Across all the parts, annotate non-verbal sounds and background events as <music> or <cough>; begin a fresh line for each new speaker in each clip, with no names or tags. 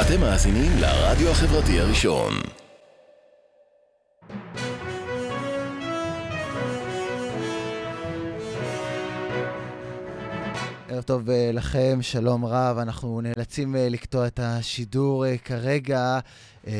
אתם מאזינים לרדיו החברתי הראשון.
ערב טוב אה, לכם, שלום רב, אנחנו נאלצים אה, לקטוע את השידור אה, כרגע אה,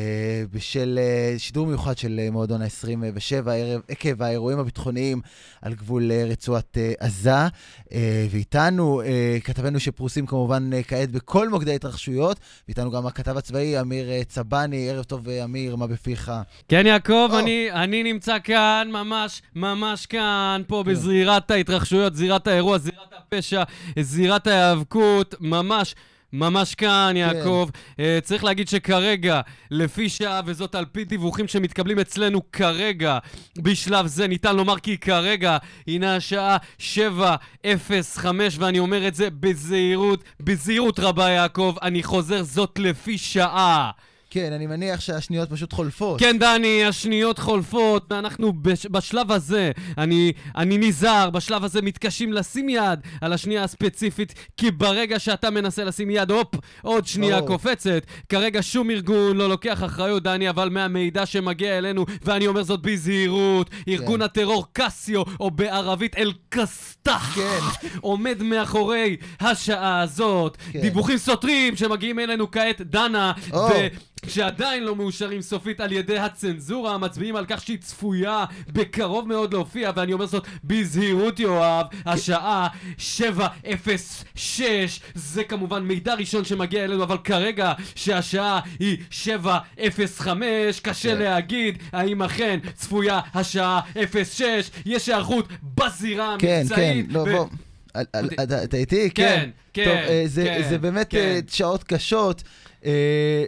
בשל אה, שידור מיוחד של אה, מועדון ה-27 ערב עקב האירועים הביטחוניים על גבול אה, רצועת אה, עזה, אה, ואיתנו אה, כתבנו שפרוסים כמובן אה, כעת בכל מוקדי ההתרחשויות, ואיתנו גם הכתב הצבאי אמיר אה, צבני, ערב טוב אה, אמיר, מה בפיך?
כן, יעקב,
או.
אני, אני נמצא כאן, ממש, ממש כאן, פה בזירת ההתרחשויות, זירת האירוע, זירת הפשע, זירת ההיאבקות, ממש. ממש כאן, יעקב. אה, צריך להגיד שכרגע, לפי שעה, וזאת על פי דיווחים שמתקבלים אצלנו כרגע, בשלב זה ניתן לומר כי כרגע הנה השעה 7:05, ואני אומר את זה בזהירות, בזהירות רבה, יעקב. אני חוזר, זאת לפי שעה.
כן, אני מניח שהשניות פשוט חולפות.
כן, דני, השניות חולפות, ואנחנו בש, בשלב הזה, אני, אני נזהר, בשלב הזה מתקשים לשים יד על השנייה הספציפית, כי ברגע שאתה מנסה לשים יד, הופ, עוד שנייה
ברור.
קופצת. כרגע שום ארגון לא לוקח אחריות, דני, אבל מהמידע שמגיע אלינו, ואני אומר זאת בזהירות,
כן.
ארגון הטרור קסיו, או בערבית אל-קסטח,
כן.
עומד מאחורי השעה הזאת.
כן.
דיווחים סותרים שמגיעים אלינו כעת, דנה,
או.
שעדיין לא מאושרים סופית על ידי הצנזורה המצביעים על כך שהיא צפויה בקרוב מאוד להופיע ואני אומר זאת בזהירות יואב
כן.
השעה 7:06 זה כמובן מידע ראשון שמגיע אלינו אבל כרגע שהשעה היא 7:05 קשה
כן.
להגיד האם אכן צפויה השעה 0:6 יש היערכות בזירה
כן, כן,
המבצעית
לא,
ו-
בוא. אל- אל-
אוקיי.
אתה אתה איתי?
כן, כן,
טוב, אה, זה-
כן,
זה באמת
כן.
אה, שעות קשות, אה,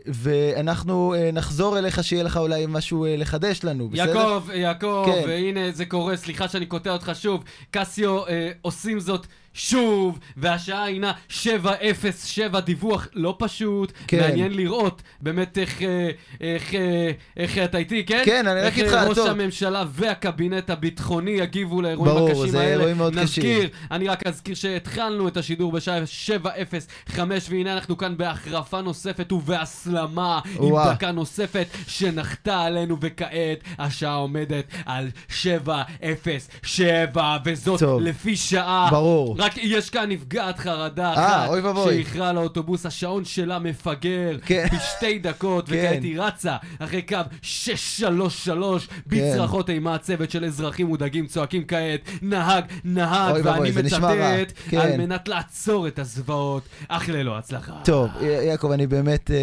ואנחנו אה, נחזור אליך, שיהיה לך אולי משהו אה, לחדש לנו, בסדר?
יעקב, יעקב,
כן.
והנה זה קורה, סליחה שאני קוטע אותך שוב. קסיו אה, עושים זאת שוב, והשעה הינה 7:07, דיווח לא פשוט.
כן.
מעניין לראות באמת איך, אה, איך, אה, איך אתה איתי, כן?
כן, אני רק
איך,
איתך,
אה, ראש
טוב.
הממשלה והקבינט הביטחוני יגיבו לאירועים
ברור,
הקשים
זה
האלה.
אירועים מאוד קשים.
נזכיר, אני רק אזכיר שהתחלנו את השידור בשעה 7:05, והנה אנחנו כאן בהחרפה נוספת ובהסלמה.
וואו.
עם דקה נוספת שנחתה עלינו, וכעת השעה עומדת על 7:07, וזאת
טוב.
לפי שעה.
ברור.
רק יש כאן נפגעת חרדה
אה,
אחת,
אוי ואבוי.
שאיחרה לאוטובוס, השעון שלה מפגר,
כן.
בשתי דקות,
כן.
וכעת היא רצה אחרי קו 633,
כן.
בצרחות אימה, צוות של אזרחים מודאגים צועקים כעת, נהג, נהג,
אוי ואבוי,
ואני
זה נשמע רע.
מצטט,
כן.
על מנת לעצור את הזוועות, אך ללא הצלחה.
טוב, י- יעקב, אני באמת, אה,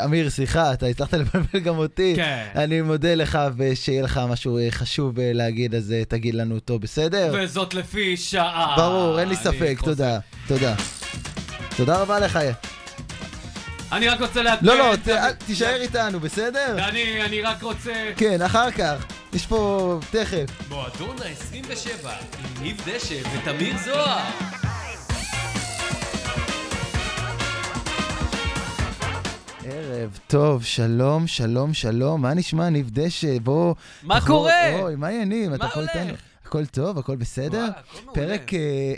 אה, אמיר, סליחה, אתה הצלחת לבלבל גם אותי.
כן.
אני מודה לך, ושיהיה לך משהו אה, חשוב אה, להגיד, אז אה, תגיד לנו אותו, בסדר?
וזאת לפי שעה.
ברור, אין לי
אני
ספק,
חוזר.
תודה, תודה. תודה רבה לך.
אני רק רוצה להתחיל.
לא, לא, ת- אל- תישאר איתנו, בסדר?
אני, אני רק רוצה...
כן, אחר כך. יש פה, תכף.
מועדון ה-27 עם ניב דשא ותמיר זוהר.
ערב טוב, שלום, שלום, שלום, מה נשמע, ניב דשא, בוא...
מה
תחבור-
קורה?
אוי, מה העניינים? אתה
מה
פה איתנו?
הולך?
הכל טוב, הכל בסדר?
וואלה, הכל מעולה.
פרק, אה,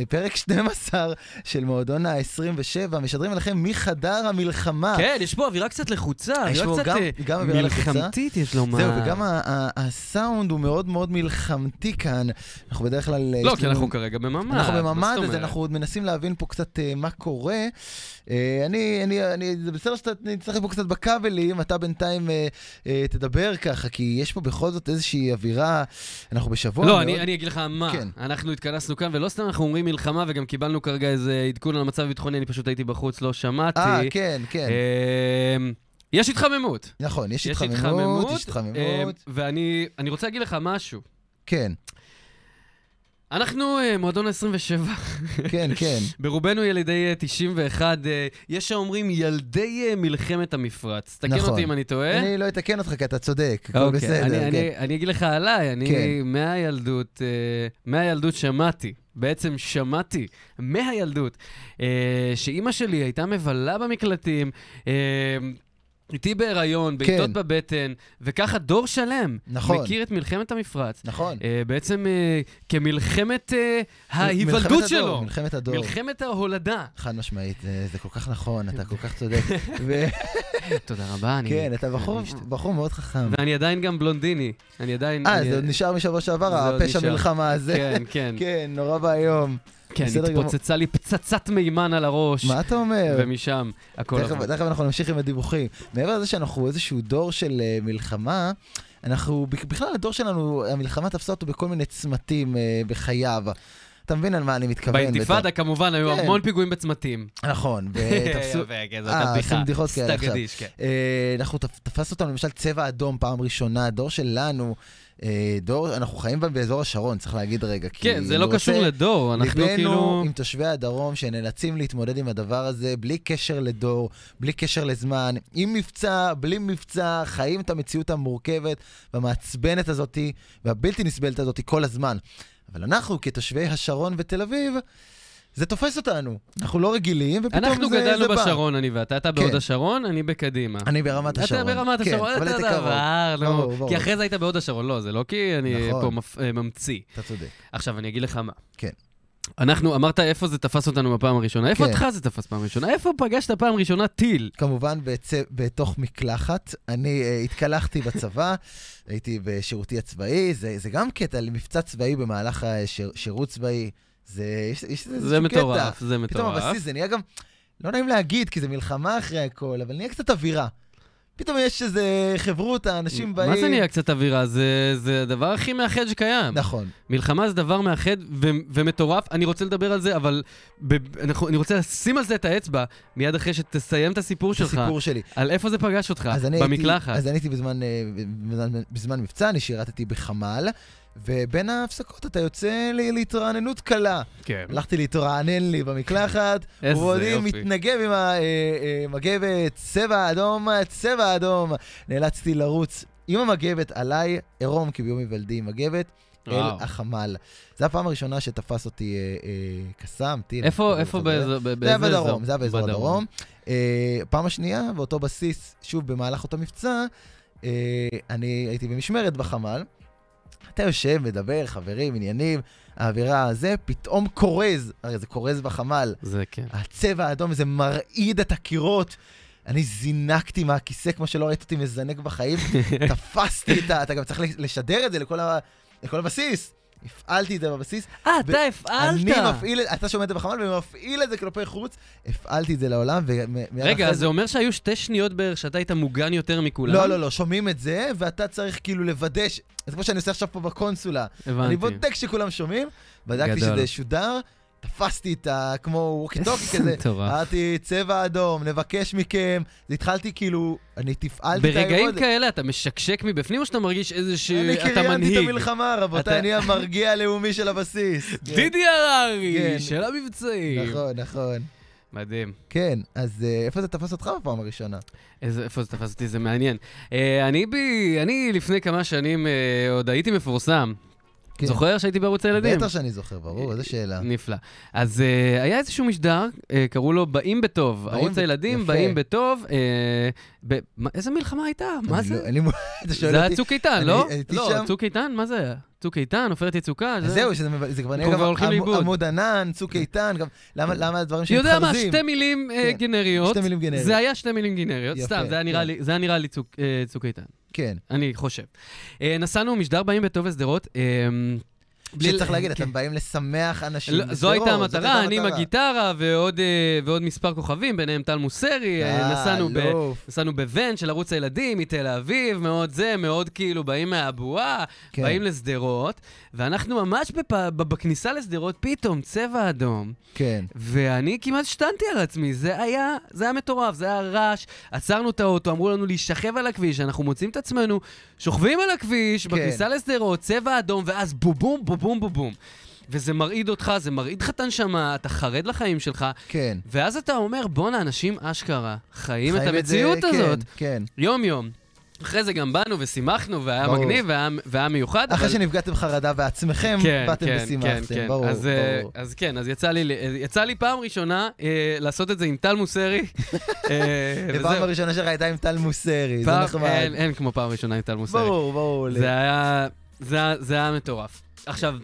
אה, פרק <laughs> 12 של מועדון ה-27, משדרים אליכם מחדר המלחמה.
כן, יש פה אווירה קצת לחוצה,
יש
אווירה
פה
קצת
גם-
אה,
גם אווירה לחוצה.
מלחמתית יש לומר.
זהו, וגם ה- ה- הסאונד הוא מאוד מאוד מלחמתי כאן. אנחנו בדרך כלל... אה,
לא,
יש
כי
לנו-
אנחנו כרגע בממ"ד.
אנחנו
מה זאת
בממ"ד, אז
אומרת?
אנחנו עוד מנסים להבין פה קצת אה, מה קורה. אה, אני, אני, אני, זה בסדר שאתה נצטרך פה קצת בכבלים, אתה בינתיים אה, אה, תדבר ככה, כי יש פה בכל זאת איזושהי אווירה, אנחנו בשבוע
לא,
מאוד.
אני, אני אגיד לך מה,
כן.
אנחנו התכנסנו כאן, ולא סתם אנחנו אומרים מלחמה, וגם קיבלנו כרגע איזה עדכון על המצב הביטחוני, אני פשוט הייתי בחוץ, לא שמעתי.
אה, כן, כן,
אמ, יש התחממות.
נכון, יש
יש
התחממות, יש
אמ,
התחממות,
ואני אני רוצה להגיד לך משהו.
כן,
אנחנו אה, מועדון 27,
כן,
<laughs>
כן,
ברובנו ילידי אה, 91, אה, יש האומרים ילדי אה, מלחמת המפרץ. תקן
נכון.
אותי אם אני טועה.
אני לא אתקן אותך כי אתה צודק, הכל
אה? אוקיי, אני,
בסדר, כן.
אני, אני אגיד לך עליי, אני
כן.
מהילדות, אה, מהילדות שמעתי, בעצם שמעתי מהילדות, אה, שאימא שלי הייתה מבלה במקלטים, אה, איתי בהיריון, בעיטות בבטן, וככה דור שלם.
כן. נכון.
מכיר את מלחמת המפרץ.
נכון.
אה, בעצם אה, כמלחמת אה,
מלחמת
ההיוולדות
הדור,
שלו.
מלחמת הדור.
מלחמת ההולדה.
חד משמעית, זה- זה כל כך נכון, אתה כל כך
<laughs>
צודק. ו-
תודה רבה, אני...
כן, אתה בחור-
אני-
בחור מאוד חכם.
ואני עדיין גם בלונדיני. אני עדיין...
אה,
אני-
זה עוד נשאר משבוע שעבר,
זה עוד
הפשע
נשאר.
מלחמה הזה.
כן, כן.
כן, נורא ואיום.
כן,
בסדר גמור.
התפוצצה לי פצצת מימן על הראש.
מה אתה אומר?
ומשם הכל
תכף
עבר.
תכף אנחנו נמשיך עם הדיווחים. מעבר לזה שאנחנו איזשהו דור של אה, מלחמה, אנחנו, בכ- בכלל הדור שלנו, המלחמה תפסה אותו בכל מיני צמתים אה, בחייו. אתה מבין על מה אני מתכוון?
באינתיפאדה כמובן היו
כן.
המון פיגועים בצמתים.
בטח.
<laughs>
נכון, ותפסו...
יפה, כן, זאת
אה,
הבדיחה.
עושים בדיחות כאלה
סטאג
עכשיו.
אדיש, כן.
אה, אנחנו, תפ- תפס אותנו למשל צבע אדום פעם ראשונה, הדור שלנו, אה, דור, אנחנו חיים בה באזור השרון, צריך להגיד רגע. כי
כן, זה
אני כאילו,
לא
רוצה-
קשור לדור, אנחנו
ליבנו
כאילו...
עם תושבי הדרום שנאלצים להתמודד עם הדבר הזה בלי קשר לדור, בלי קשר לזמן, עם מבצע, בלי מבצע, חיים את המציאות המורכבת והמעצבנת הזאתי והבלתי נסבלת הזאתי כל הזמן. אבל אנחנו כתושבי השרון ותל אביב, זה תופס אותנו. אנחנו לא רגילים ופתאום
אנחנו
זה, זה
גדלנו
בא.
בשרון, אני ואתה, אתה בהוד
כן.
השרון, אני בקדימה.
אני ברמת השרון.
אתה ברמת השרון,
כן, אבל
אתה
אתה קרוב.
דבר,
ברור,
נו.
ברור.
כי אחרי זה היית בהוד השרון, לא, זה לא כי אני
נכון.
פה מפ- אה, ממציא.
אתה צודק.
עכשיו, אני אגיד לך מה.
כן.
אנחנו, אמרת איפה זה תפס אותנו בפעם הראשונה, איפה
כן.
אותך זה תפס פעם ראשונה, איפה פגשת פעם ראשונה טיל?
כמובן בצ... בתוך מקלחת. אני uh, התקלחתי
<laughs>
בצבא, הייתי בשירותי הצבאי, זה, זה גם קטע למבצע צבאי במהלך השיר, שירות צבאי. זה, יש, יש איזה
זה
איזשהו
מטורף,
קטע.
זה
פתאום
מטורף.
הבסיס זה נהיה גם, לא נעים להגיד, כי זה מלחמה אחרי הכל, אבל נהיה קצת אווירה. פתאום יש איזה חברותא, אנשים באים...
מה זה נהיה קצת אווירה? זה, זה הדבר הכי מאחד שקיים.
נכון.
מלחמה זה דבר מאחד ו- ומטורף. אני רוצה לדבר על זה, אבל ב- אנחנו, אני רוצה לשים על זה את האצבע מיד אחרי שתסיים את הסיפור
זה
שלך.
סיפור שלי.
על איפה זה פגש אותך?
אז אני
במקלחת.
הייתי, אז אני הייתי בזמן, אה, בזמן, בזמן מבצע, אני שירתתי בחמ"ל, ובין ההפסקות אתה יוצא ל- להתרעננות קלה.
כן.
הלכתי להתרענן לי במקלחת,
איזה
ובעודי
יופי.
מתנגב עם המגבת, צבע אדום, צבע אדום. נאלצתי לרוץ עם המגבת עליי, עירום כביום היוולדי עם מגבת, אל
וואו.
החמ"ל. זו הפעם הראשונה שתפס אותי אה, אה, קסאם, טיל.
איפה,
אני
איפה
לא יודע.
באיזה באיזה
זה היה
אזור?
בדרום, זה היה באזור הדרום. אה, פעם השנייה, באותו בסיס, שוב במהלך אותו מבצע, אה, אני הייתי במשמרת בחמ"ל. אתה יושב, מדבר, חברים, עניינים, האווירה הזה, פתאום כורז, הרי זה כורז בחמ"ל.
זה כן.
<laughs> הצבע האדום הזה מרעיד את הקירות. אני זינקתי מהכיסא כמו שלא ראית אותי מזנק בחיים, <laughs> תפסתי את ה... אתה גם צריך לשדר את זה לכל, ה... לכל הבסיס. הפעלתי את זה בבסיס,
אה,
ב-
אתה הפעלת.
אני מפעיל, את- אתה שומע את זה בחמ"ל ומפעיל את זה כלפי חוץ, הפעלתי את זה לעולם. ומיד
רגע,
אחרי
אז זה אומר שהיו שתי שניות בערך שאתה היית מוגן יותר מכולם?
לא, לא, לא, שומעים את זה, ואתה צריך כאילו לוודא, ש- זה כמו שאני עושה עכשיו פה בקונסולה. אני
הבנתי.
בודק שכולם שומעים, בדקתי
גדול.
שזה שודר, תפסתי את ה... כמו ווקי טוקי כזה.
מטורף.
אמרתי, צבע אדום, נבקש מכם. זה התחלתי כאילו, אני תפעלתי את
ברגעים
האירוע הזה.
כאלה אתה משקשק מבפנים או שאתה מרגיש איזשהו...
אני
אתה
קריינתי את
מנהיג?
המלחמה,
אתה-
רבותיי, אני המרגיע הלאומי של
<laughs>
הבסיס. כן,
דידי הררי,
כן.
של המבצעים.
נכון, נכון.
מדהים.
כן, אז אה, איפה זה תפס אותך בפעם הראשונה?
איזה, איפה זה תפס אותי? זה מעניין. אה, אני, בי, אני לפני כמה שנים אה, עוד הייתי מפורסם.
כן.
זוכר שהייתי בערוץ הילדים?
בטח שאני זוכר, ברור, איזה שאלה.
נפלא. אז אה, היה איזשהו משדר, אה, קראו לו באים בטוב.
באים
ערוץ
ב-
הילדים,
יפה.
באים בטוב. אה, ב- מה- איזה מלחמה הייתה? מה
אני
זה?
לא- אין לי מושג, <laughs> אתה שואל
זה היה
אותי.
צוק איתן,
אני
לא?
הייתי
לא,
שם.
צוק איתן, מה זה היה? צוק איתן, עופרת יצוקה?
אז זהו, שזה מב- זה כבר נהיה
כבר
גם
הולכים
עמוד-
לאיבוד. כן.
עמוד ענן, צוק איתן, גם- למה- למה הדברים שמתחרזים?
יודע מה, שתי מילים אה,
כן.
גנריות.
שתי מילים גנריות.
זה היה שתי מילים גנריות,
יפה,
סתם, זה היה נראה
כן.
לי- זה היה נראה לי צוק- אה, צוק איתן.
כן.
אני חושב. אה, נסענו משדר באים בטוב לשדרות. אה, בלי-
שצריך להגיד,
כן.
אתם באים לשמח אנשים.
לא, זו הייתה
בשדרות, זאת
המטרה, אני עם
המטרה.
הגיטרה ועוד, אה, ועוד מספר כוכבים, ביניהם טל מוסרי, אה,
אה,
נסענו ב...
אלוף.
נסענו בוון של ערוץ הילדים מתל אביב, מאוד זה, מאוד כאילו באים מהבועה,
כן.
באים לשדרות, ואנחנו ממש בפ... ב- בכניסה לשדרות, פתאום צבע אדום,
כן.
ואני כמעט השתנתי על עצמי, זה היה, זה היה מטורף, זה היה רעש. עצרנו את האוטו, אמרו לנו להישכב על הכביש, אנחנו מוצאים את עצמנו, שוכבים על הכביש, כן.
כן.
בכניסה לשדרות, צבע אדום, ואז בובום, בובום, בובום. וזה מרעיד אותך, זה מרעיד לך את הנשמה, אתה חרד לחיים שלך,
כן.
ואז אתה אומר, בואנה, אנשים אשכרה חיים, את
חיים
המציאות
זה,
הזאת,
כן, כן.
יום-יום. אחרי זה גם באנו ושימחנו, והיה
ברור.
מגניב והיה- והיה מיוחד.
אחרי
אבל-
שנפגעתם חרדה בעצמכם,
כן,
באתם
כן, כן,
ושימחתם,
כן.
ברור,
אז, אה,
ברור.
אז כן, אז יצא לי, ל- אה, יצא לי פעם ראשונה אה, לעשות את זה עם טל
<laughs>
מוסרי. אה,
הפעם
וזהו.
הראשונה שלך הייתה עם טל מוסרי, זה
פעם-
נחמד.
אין- אין כמו פעם ראשונה עם טל מוסרי.
ברור, ברור. לי.
זה היה, זה היה- זה היה מטורף. עכשיו,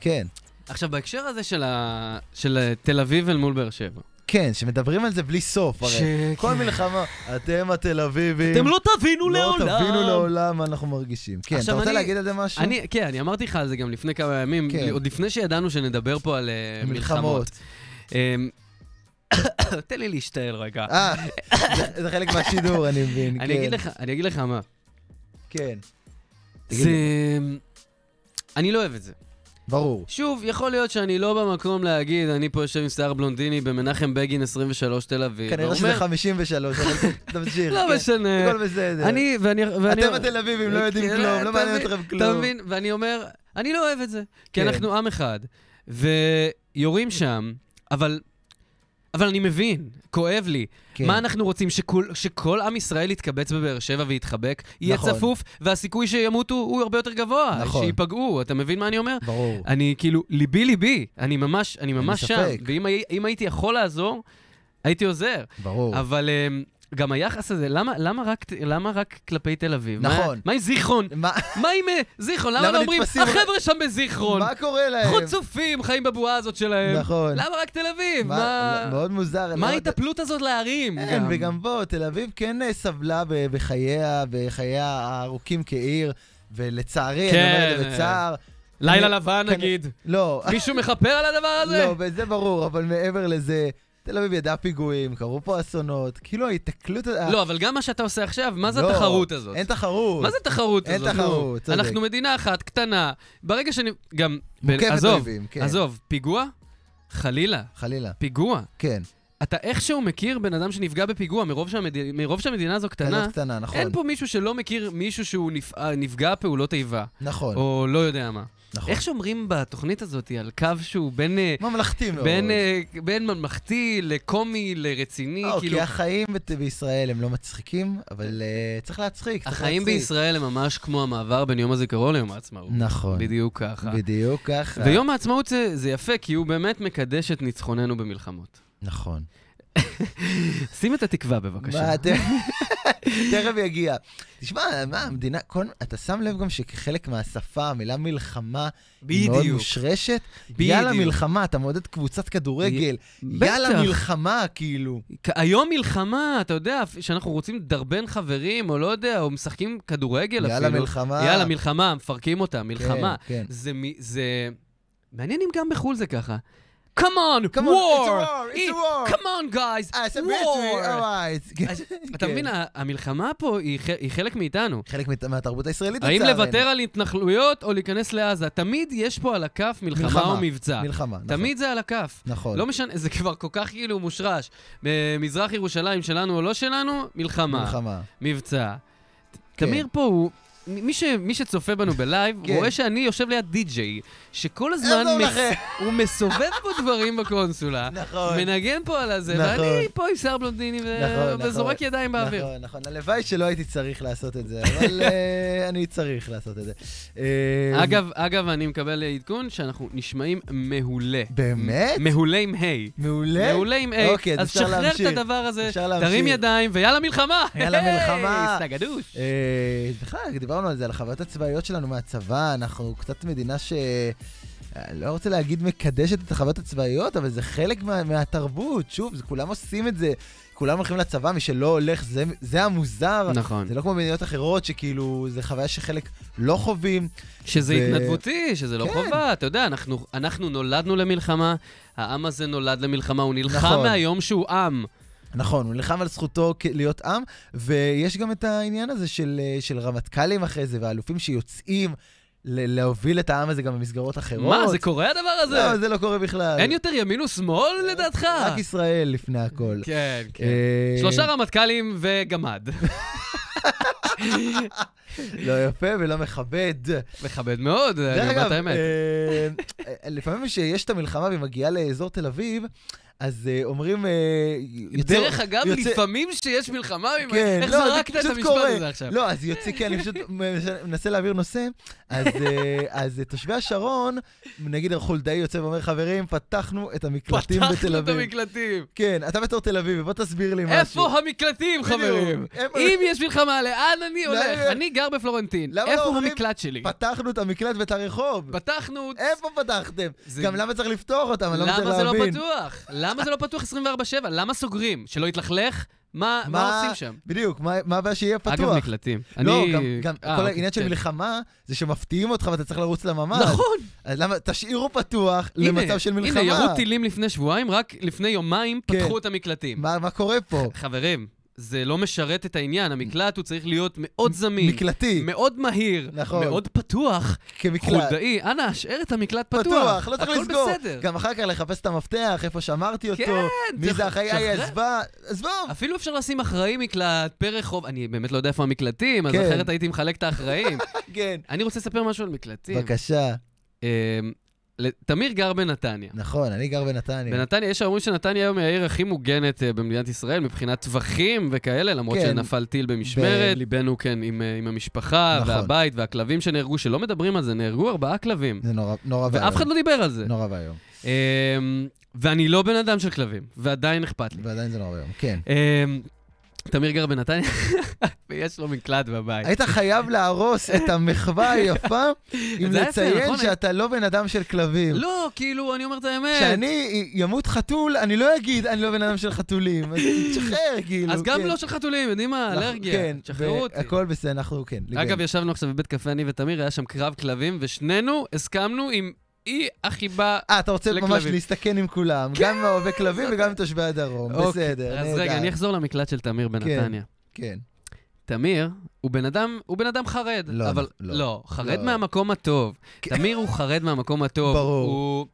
כן.
עכשיו בהקשר הזה של, ה, של אה, תל אביב אל מול באר שבע.
כן, שמדברים על זה בלי סוף, הרי.
ש-
כל
כן.
מלחמה, אתם התל אביבים.
אתם לא תבינו
לא
לעולם.
תבינו לעולם מה אנחנו מרגישים. כן, אתה
עכשיו
רוצה
אני-
להגיד על זה משהו?
אני, כן, אני אמרתי לך על זה גם לפני כמה ימים,
כן.
עוד לפני שידענו שנדבר פה על אה,
מלחמות.
מלחמות. אה, אמ, <coughs> תן לי להשתעל רגע.
אה, זה- זה חלק מהשידור, אני מבין.
אני
כן,
אגיד לך, אני אגיד לך מה.
כן, תגיד
זה... אני לא אוהב את זה.
ברור.
שוב, יכול להיות שאני לא במקום להגיד, אני פה יושב עם שיער בלונדיני במנחם בגין 23 תל אביב.
כנראה
ואומר,
שזה 53,
<laughs>
אבל תמשיך.
לא
כן,
משנה.
הכל בסדר.
אני, ואני... ואני-
אתם התל אביבים, לא יודעים
כן,
כלום,
אתה
לא מעניין
מבין-
אתכם
אתה
כלום.
מבין? ואני אומר, אני לא אוהב את זה. כי
כן.
אנחנו עם אחד, ויורים שם, אבל... אבל אני מבין, כואב לי.
כן.
מה אנחנו רוצים? שכל, שכל עם ישראל יתקבץ בבאר שבע ויתחבק? יהיה
נכון.
צפוף, והסיכוי שימותו הוא הרבה יותר גבוה.
נכון.
שייפגעו, אתה מבין מה אני אומר?
ברור.
אני כאילו, ליבי ליבי, אני ממש, אני ממש שם.
ספק.
ואם הי- אם הייתי יכול לעזור, הייתי עוזר.
ברור.
אבל אמ, גם היחס הזה, למה, למה, רק, למה רק כלפי תל אביב?
נכון.
מה, מה עם זיכרון?
מה-
מה עם אה, זיכרון? למה,
למה
לא אומרים,
נתפסים-
החבר'ה שם בזיכרון?
מה קורה להם?
חוצופים חיים בבועה הזאת שלהם.
נכון.
למה רק תל אביב?
מה-
מה,
מאוד מוזר.
מה
לא-
ההתאפלות הזאת להרים?
כן, וגם בוא, תל אביב כן אה, סבלה ב- בחייה, בחייה הארוכים כעיר, ולצערי, אני אומר את
כן,
זה בצער.
לילה
אני-
לבן
כן,
נגיד.
לא, <laughs>
מישהו מכפר על הדבר הזה?
לא, זה ברור, אבל מעבר לזה, תל אביב ידעה פיגועים, קרו פה אסונות, כאילו ההיתקלות... ה-
לא, אבל גם מה שאתה עושה עכשיו, מה זה
לא,
התחרות הזאת?
אין תחרות.
מה זה התחרות
אין
הזאת?
תחרות,
נו,
צודק.
אנחנו מדינה אחת, קטנה. ברגע שאני... גם...
מוקפת
עזוב,
אויבים, כן.
עזוב, פיגוע? חלילה,
חלילה,
פיגוע.
כן.
אתה איכשהו מכיר בן אדם שנפגע בפיגוע מרוב, שהמד... מרוב שהמדינה הזו קטנה,
קטנה, קטנה, נכון.
אין פה מישהו שלא מכיר מישהו שהוא נפ... אה, נפגע פעולות איבה,
נכון,
או לא יודע מה.
נכון.
איך שומרים בתוכנית הזאת על קו שהוא בין, אה,
ממלכתי מאוד.
בין, אה, בין ממלכתי לקומי לרציני,
לא,
כאילו...
כי החיים בת- בישראל הם לא מצחיקים, אבל אה, צריך להצחיק, צריך
החיים
להצחיק.
בישראל הם ממש כמו המעבר בין יום הזיכרון ליום העצמאות.
נכון,
בדיוק ככה.
בדיוק ככה.
ויום העצמאות זה, זה יפה, כי הוא באמת מקדש את ניצחוננו במלחמות.
נכון.
שים את התקווה בבקשה.
מה, ת- <laughs> תכף יגיע. תשמע, מה, המדינה, כל- אתה שם לב גם שכחלק מהשפה, המילה מלחמה, היא מאוד
בדיוק.
מושרשת.
בדיוק.
יאללה מלחמה, אתה מעודד קבוצת כדורגל.
בטח.
יאללה מלחמה, כאילו.
כ- היום מלחמה, אתה יודע, אפ- שאנחנו רוצים לדרבן חברים, או לא יודע, או משחקים כדורגל אפילו.
יאללה מלחמה.
יאללה מלחמה, מפרקים אותה, מלחמה.
כן.
זה... מ- זה... מעניין אם גם בחו"ל זה ככה. Come
Come
on,
on, it's
war!
a war, it's a war.
Come on, guys,
אה, זה
war!
בעצם, alright. כן. <laughs>
<laughs> אז אתה מבין, ה- המלחמה פה היא ח- היא חלק מאיתנו.
חלק מת- מהתרבות הישראלית,
האם
לצערנו.
לוותר על התנחלויות או להיכנס לעזה? תמיד יש פה על הכף מלחמה
מלחמה,
או מבצע.
מלחמה, נכון.
תמיד זה על הכף.
נכון.
לא משנה, זה כבר כל כך כאילו מושרש. במזרח ירושלים שלנו או לא שלנו, מלחמה.
מלחמה.
מבצע.
כן.
תמיר פה הוא... מ- מי, ש, מי שצופה בנו בלייב,
כן.
הוא רואה שאני יושב ליד די-ג'יי, שכל הזמן
עזוב
מס,
לכם.
הוא מסובב פה דברים בקונסולה,
נכון.
מנגן פה על הזה,
נכון.
ואני פה עם שיער בלונדיני ו...
נכון, נכון.
אה, וזורק ידיים באוויר.
נכון, נכון. הלוואי שלא הייתי צריך לעשות את זה,
<laughs>
אבל אה, אני צריך לעשות את זה. אה,
אגב, אגב, אני מקבל עדכון שאנחנו נשמעים מעולה.
באמת?
מעולה עם היי.
מעולה.
מעולה עם היי.
אוקיי, אז
אז
אפשר
שחרר את
להמשיך.
הדבר הזה,
אפשר להמשיך.
תרים ידיים, ויאללה מלחמה!
יאללה
היי,
מלחמה.
סטגדוש.
אה, בכלל, דיברנו על זה, על החוויות הצבאיות שלנו מהצבא, אנחנו קצת מדינה ש... אה, לא רוצה להגיד מקדשת את החוויות הצבאיות, אבל זה חלק מה, מהתרבות. שוב, זה, כולם עושים את זה, כולם הולכים לצבא, מי שלא הולך, זה, זה המוזר.
נכון.
זה לא כמו מדינות אחרות, שכאילו, זה חוויה שחלק לא חווים.
שזה
ו-
התנדבותי, שזה לא
כן.
חובה, אתה יודע, אנחנו- אנחנו נולדנו למלחמה, העם הזה נולד למלחמה, הוא נלחם
נכון.
מהיום שהוא עם.
נכון, הוא נלחם על זכותו כ- להיות עם, ויש גם את העניין הזה של, אה, של רמטכ"לים אחרי זה, ואלופים שיוצאים ל- להוביל את העם הזה גם במסגרות אחרות.
מה, זה קורה הדבר הזה?
לא, זה לא קורה בכלל.
אין יותר ימין ושמאל לדעתך?
רק ישראל לפני הכל.
כן, כן.
אה,
שלושה רמטכ"לים
<laughs>
וגמד.
לא יפה ולא מכבד.
מכבד מאוד, אני אומר את האמת.
אה, לפעמים כשיש את המלחמה והיא מגיעה לאזור תל אביב, אז אה, אומרים... אה, יוצא-
דרך אגב,
יוצא-
לפעמים שיש מלחמה, ממ-
כן,
איך
לא, זה
זרקת את
פשוט
המשפט
קורה.
הזה עכשיו?
לא, אז יוצא, כן, אני
<laughs>
פשוט מנסה להעביר נושא. אז, אה, אז אה, תושבי השרון, נגיד חולדאי יוצא ואומר, חברים, פתחנו את המקלטים בתל
פתחנו את
אביב.
המקלטים.
כן, אתה בתור תל אביבי, בוא תסביר לי משהו.
איפה המקלטים, חברים?
בדיוק. הם-
אם יש מלחמה, לאן אני
לאן
הולך?
אני-
אני גר בפלורנטין.
למה לא
איפה
אומרים-
המקלט שלי?
פתחנו את המקלט ואת הרחוב.
פתחנו...
איפה פתחתם?
זה-
גם למה צריך לפתוח אותם? אני לא מצליח
למה זה לא
להבין.
פתוח? למה זה לא פתוח 24/7? למה סוגרים? שלא יתלכלך? מה מה
מה-
עושים שם?
בדיוק, מה מה הבעיה שיהיה פתוח?
אגב, מקלטים.
לא,
אני-
גם, גם
אה,
כל
אוקיי,
העניין של
כן.
מלחמה זה שמפתיעים אותך ואתה צריך לרוץ לממ"ד.
נכון.
אז למה, תשאירו פתוח
הנה,
למצב של מלחמה.
הנה, ירו טילים לפני שבועיים, רק לפני יומיים
כן.
פתחו את המקלטים.
מה, מה קורה
<laughs>
פה?
חברים, זה לא משרת את העניין, המקלט הוא צריך להיות מאוד זמין.
מקלטי,
מאוד מהיר,
נכון.
מאוד פתוח,
כמקלט.
חולדאי, אנא, השאר את המקלט פתוח.
פתוח, לא צריך לסגור.
הכל בסדר.
גם אחר כך לחפש את המפתח, איפה שמרתי אותו,
כן,
מי
צריך-
זה אחראי, היא
שחרר.
עזבה, עזוב.
אפילו אפשר לשים אחראי מקלט, פר רחוב, אני באמת לא יודע איפה המקלטים, אז
כן.
אחרת הייתי מחלק
<laughs>
את האחראים.
כן.
אני רוצה לספר משהו על מקלטים.
בבקשה.
אמ, ל- תמיר גר בנתניה.
נכון, אני גר בנתניה.
בנתניה, יש שאומרים שנתניה היום היא העיר הכי מוגנת אה, במדינת ישראל מבחינת טווחים וכאלה, למרות
כן.
שנפל טיל במשמרת.
ב-
ליבנו, כן, עם אה, עם המשפחה,
נכון.
והבית, והכלבים שנהרגו, שלא מדברים על זה, נהרגו ארבעה כלבים.
זה נורא נורא ואיום.
ואף אחד לא דיבר על זה.
נורא ואיום.
אמ, ואני לא בן אדם של כלבים, ועדיין אכפת לי.
ועדיין זה נורא ואיום, כן.
אמ, תמיר גר בנתניה, <laughs> ויש לו מקלט בבית.
היית חייב להרוס את המחווה
<laughs>
היפה עם
זה היה יפה,
לציין
נכון?
שאתה לא בן אדם של כלבים.
לא, כאילו, אני אומר את האמת.
כשאני ימות חתול, אני לא אגיד אני לא בן אדם של חתולים. אז תשחרר, כאילו.
אז גם
כן.
לא של חתולים, יודעים מה,
אנחנו-
אלרגיה.
כן,
תשחררו אותי.
הכל בסדר, אנחנו כן. ליבנו.
אגב, ישבנו עכשיו בבית קפה, אני ותמיר, היה שם קרב כלבים, ושנינו הסכמנו עם אי החיבה.
אה, אתה רוצה
לכלבים.
ממש להסתכן עם כולם, גם עם אוהבי כלבים וגם עם תושבי הדרום, בסדר,
כן! אוקיי. אז
נהדר.
רגע, אני אחזור למקלט של תמיר בנתניה.
כן,
תמיר הוא בן אדם, הוא בן אדם חרד.
לא,
אבל
לא.
לא, חרד
לא. כן.
מהמקום הטוב. תמיר הוא חרד מהמקום הטוב.
ברור.
הוא...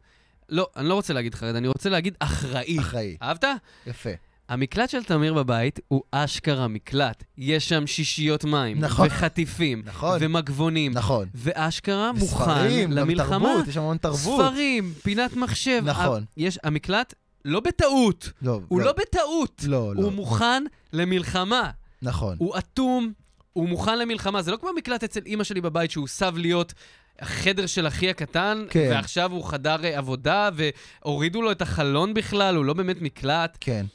לא, אני לא רוצה להגיד חרד, אני רוצה להגיד אחראי.
אחראי,
אהבת?
יפה.
המקלט של תמיר בבית הוא אשכרה מקלט. יש שם שישיות מים.
נכון.
וחטיפים.
נכון.
ומגבונים.
נכון.
ואשכרה
וספרים,
מוכן
גם
למלחמה.
תרבות, יש המון תרבות.
ספרים, פינת מחשב.
נכון.
ה- יש, המקלט לא בטעות.
לא,
הוא לא בטעות.
לא, לא,
הוא מוכן למלחמה.
נכון.
הוא אטום, הוא מוכן למלחמה. זה לא כמו המקלט אצל אימא שלי בבית, שהוא סב להיות החדר של אחי הקטן,
כן.
ועכשיו הוא חדר אה, עבודה, והורידו לו את החלון בכלל, הוא לא באמת מקלט.
כן,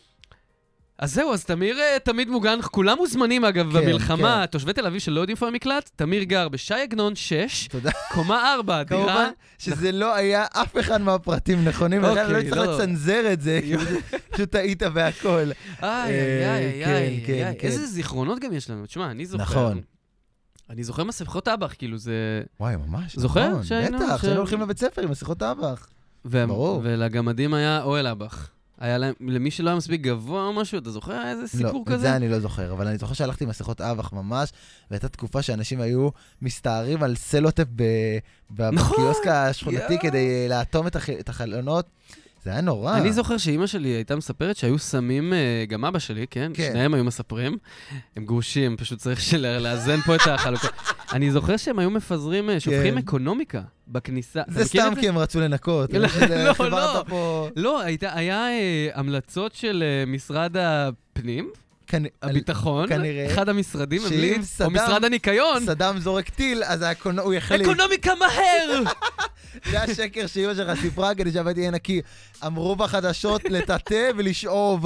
אז זהו, אז תמיר אה, תמיד מוגן, כולם מוזמנים אגב
כן,
במלחמה, תושבי תל אביב שלא יודעים איפה המקלט, תמיר גר בש"י עגנון 6,
תודה.
קומה 4, דירה.
כמובן שזה לא היה אף אחד מהפרטים נכונים,
אוקיי,
לכן לא צריך
לא.
לצנזר את זה, כי פשוט טעית והכל.
איי,
אה,
איי, איי,
כן,
איי,
כן,
איי,
כן.
איזה זיכרונות גם יש לנו. תשמע, אני זוכר.
נכון.
אני זוכר מסכות אב"ח, כאילו זה...
וואי, ממש,
זוכר
נכון,
שהיינו-
בטח,
ש-
שהיינו הולכים לבית ספר עם מסכות אב"ח.
והם-
ברור.
ולגמדים היה אוהל אב"ח. היה להם, למי שלא היה מספיק גבוה או משהו, אתה זוכר? היה איזה סיפור
לא, את
כזה?
זה אני לא זוכר, אבל אני זוכר שהלכתי עם מסכות אב"ח ממש, והייתה תקופה שאנשים היו מסתערים על סלוטפ ב... ב...
נכון,
בקיוסק השכונתי
יואו.
כדי אה, לאטום את, הח... את החלונות. זה היה נורא.
אני זוכר שאימא שלי הייתה מספרת שהיו שמים, אה, גם אבא שלי, כן?
כן.
שניהם היו מספרים. הם גרושים, פשוט צריך של- לאזן פה את החלוקה. אני זוכר שהם היו מפזרים, אה, שופכים
כן.
אקונומיקה בכניסה. אתה
זה
מכיר את
סתם כי הם רצו לנקות.
לא,
שזה-
לא,
חיברת
לא.
פה...
לא, הייתה, היה אה, המלצות של אה, משרד הפנים,
כנ...
הביטחון,
כנראה.
אחד המשרדים,
שאם
המליץ,
סדאם-
או משרד הניקיון,
סדאם זורק טיל, אז האקונ... הוא יחליט.
אקונומיקה מהר!
<laughs> זה השקר שאימא שלך סיפרה כדי שהבית יהיה נקי. אמרו בחדשות לטאטא ולשאוב.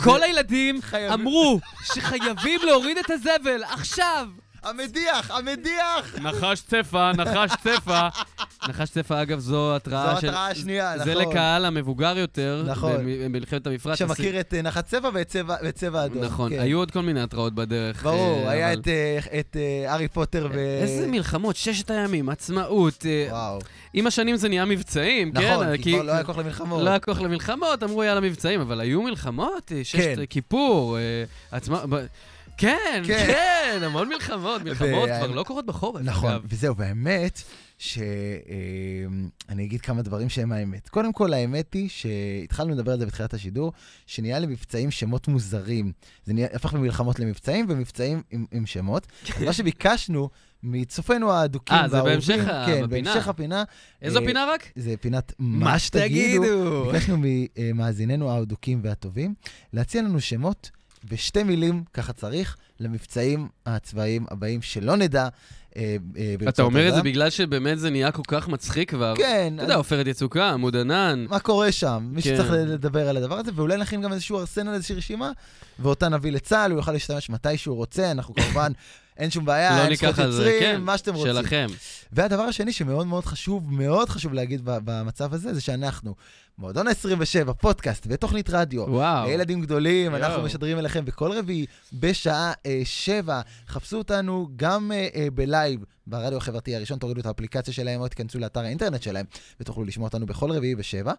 כל
זה-
הילדים
חייבים-
אמרו שחייבים להוריד את הזבל, עכשיו!
המדיח, המדיח!
נחש צפה, נחש צפה. נחש צפה, אגב, זו
זו
התראה של...
התראה שנייה, נכון.
זה לקהל המבוגר יותר,
נכון.
במ- במלחמת המפרץ.
שמכיר את אה, נחת צבע ואת צבע, ואת צבע אדום.
נכון,
כן.
היו עוד כל מיני התראות בדרך.
ברור,
אה,
היה
אבל-
את, אה, את אה, הארי פוטר ו...
איזה מלחמות, ששת הימים, עצמאות. אה,
וואו.
עם השנים זה נהיה מבצעים, כן?
נכון, כי כבר לא היה כוח למלחמות.
לא היה כוח למלחמות, אמרו יאללה מבצעים, אבל היו מלחמות, אה, ששת
כן.
כיפור, אה, עצמה... ב- כן,
כן.
כן, המון מלחמות, מלחמות
ו-
כבר לא קורות בחורף.
נכון,
אגב.
וזהו, באמת, שאני אה, אגיד כמה דברים שהם האמת. קודם כל, האמת היא שהתחלנו לדבר על זה בתחילת השידור, שנהיה למבצעים שמות מוזרים. זה נהיה, הפך ממלחמות למבצעים, ומבצעים עם, עם
<laughs>
שמות. אז מה שביקשנו מצופינו האדוקים
אה, זה בהמשך ה-
כן,
בפינה.
בהמשך הפינה.
איזו
אה,
פינה רק?
זה פינת מה שתגידו. ביקשנו ממאזיננו האדוקים והטובים להציע לנו שמות בשתי מילים, ככה צריך, למבצעים הצבאיים הבאים, שלא נדע. אה, אה, ברצועת
אתה אומר את זה
עזה.
בגלל שבאמת זה נהיה כל כך מצחיק כבר.
כן,
אתה יודע,
אז
עופרת יצוקה, עמוד ענן.
מה קורה שם? מי
כן.
שצריך לדבר על הדבר הזה, ואולי נכין גם איזשהו ארסנל, איזושהי רשימה, ואותה נביא לצה"ל, הוא יוכל להשתמש מתי שהוא רוצה, אנחנו
<laughs>
כמובן, אין שום בעיה,
לא
אין זכות
ניקח על זה,
יוצרים,
כן,
מה שאתם רוצים.
שלכם.
והדבר השני שמאוד מאוד חשוב, מאוד חשוב להגיד ב- במצב הזה, זה שאנחנו, מועדון ה-27, פודקאסט ותוכנית רדיו,
וואו.
ילדים גדולים,
יואו.
אנחנו משדרים אליכם בכל רביעי בשעה אה, שבע. חפשו אותנו גם אה, אה, בלייב ברדיו החברתי הראשון, תורידו את האפליקציה שלהם או תיכנסו לאתר האינטרנט שלהם ותוכלו לשמוע אותנו בכל רביעי בשבע.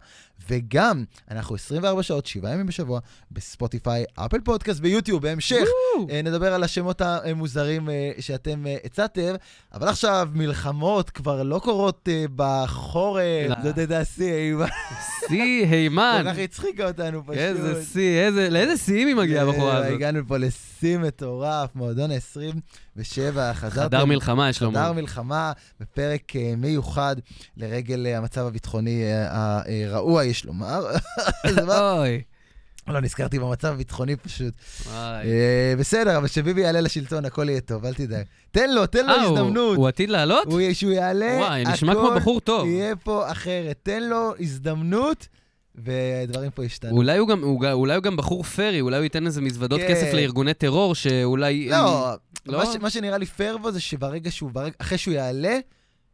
וגם, אנחנו 24 שעות, שבעה ימים בשבוע, בספוטיפיי, אפל פודקאסט ויוטיוב. בהמשך
וואו.
אה, נדבר על השמות המוזרים אה, שאתם אה, הצעתם, אבל עכשיו מלחמות כבר לא קורות אה, בחורף.
לא.
זאת הייתה השיא, אימה.
<laughs> שיא הימן.
כל כך הצחיקה אותנו פשוט.
איזה שיא, איזה, לאיזה שיאים היא מגיעה הבחורה
אה,
הזאת?
הגענו פה לשיא מטורף, מועדון ה-27, חזרתם.
חדר מלחמה, יש
חדר
לומר.
מלחמה, בפרק אה, מיוחד לרגל אה, המצב הביטחוני אה, הרעוע, יש לומר. <laughs> זה
<laughs>
מה-
אוי.
לא, נזכרתי במצב הביטחוני פשוט.
וואי.
אה, בסדר, אבל כשביבי יעלה לשלטון, הכל יהיה טוב, אל תדאג. תן לו, תן לו
אה, הוא-
הזדמנות.
הוא עתיד לעלות?
הוא יהיה- שהוא יעלה,
וואי, נשמע כמו
הכל
בחור טוב.
יהיה פה אחרת. תן לו הזדמנות, ודברים פה ישתנו.
אולי הוא, גם, הוא, ג- אולי הוא גם בחור פרי, אולי הוא ייתן איזה מזוודות
כן.
כסף לארגוני טרור, שאולי...
לא,
לא?
מה, ש, מה שנראה לי פייר בו זה שברגע שהוא, ברג, אחרי שהוא יעלה,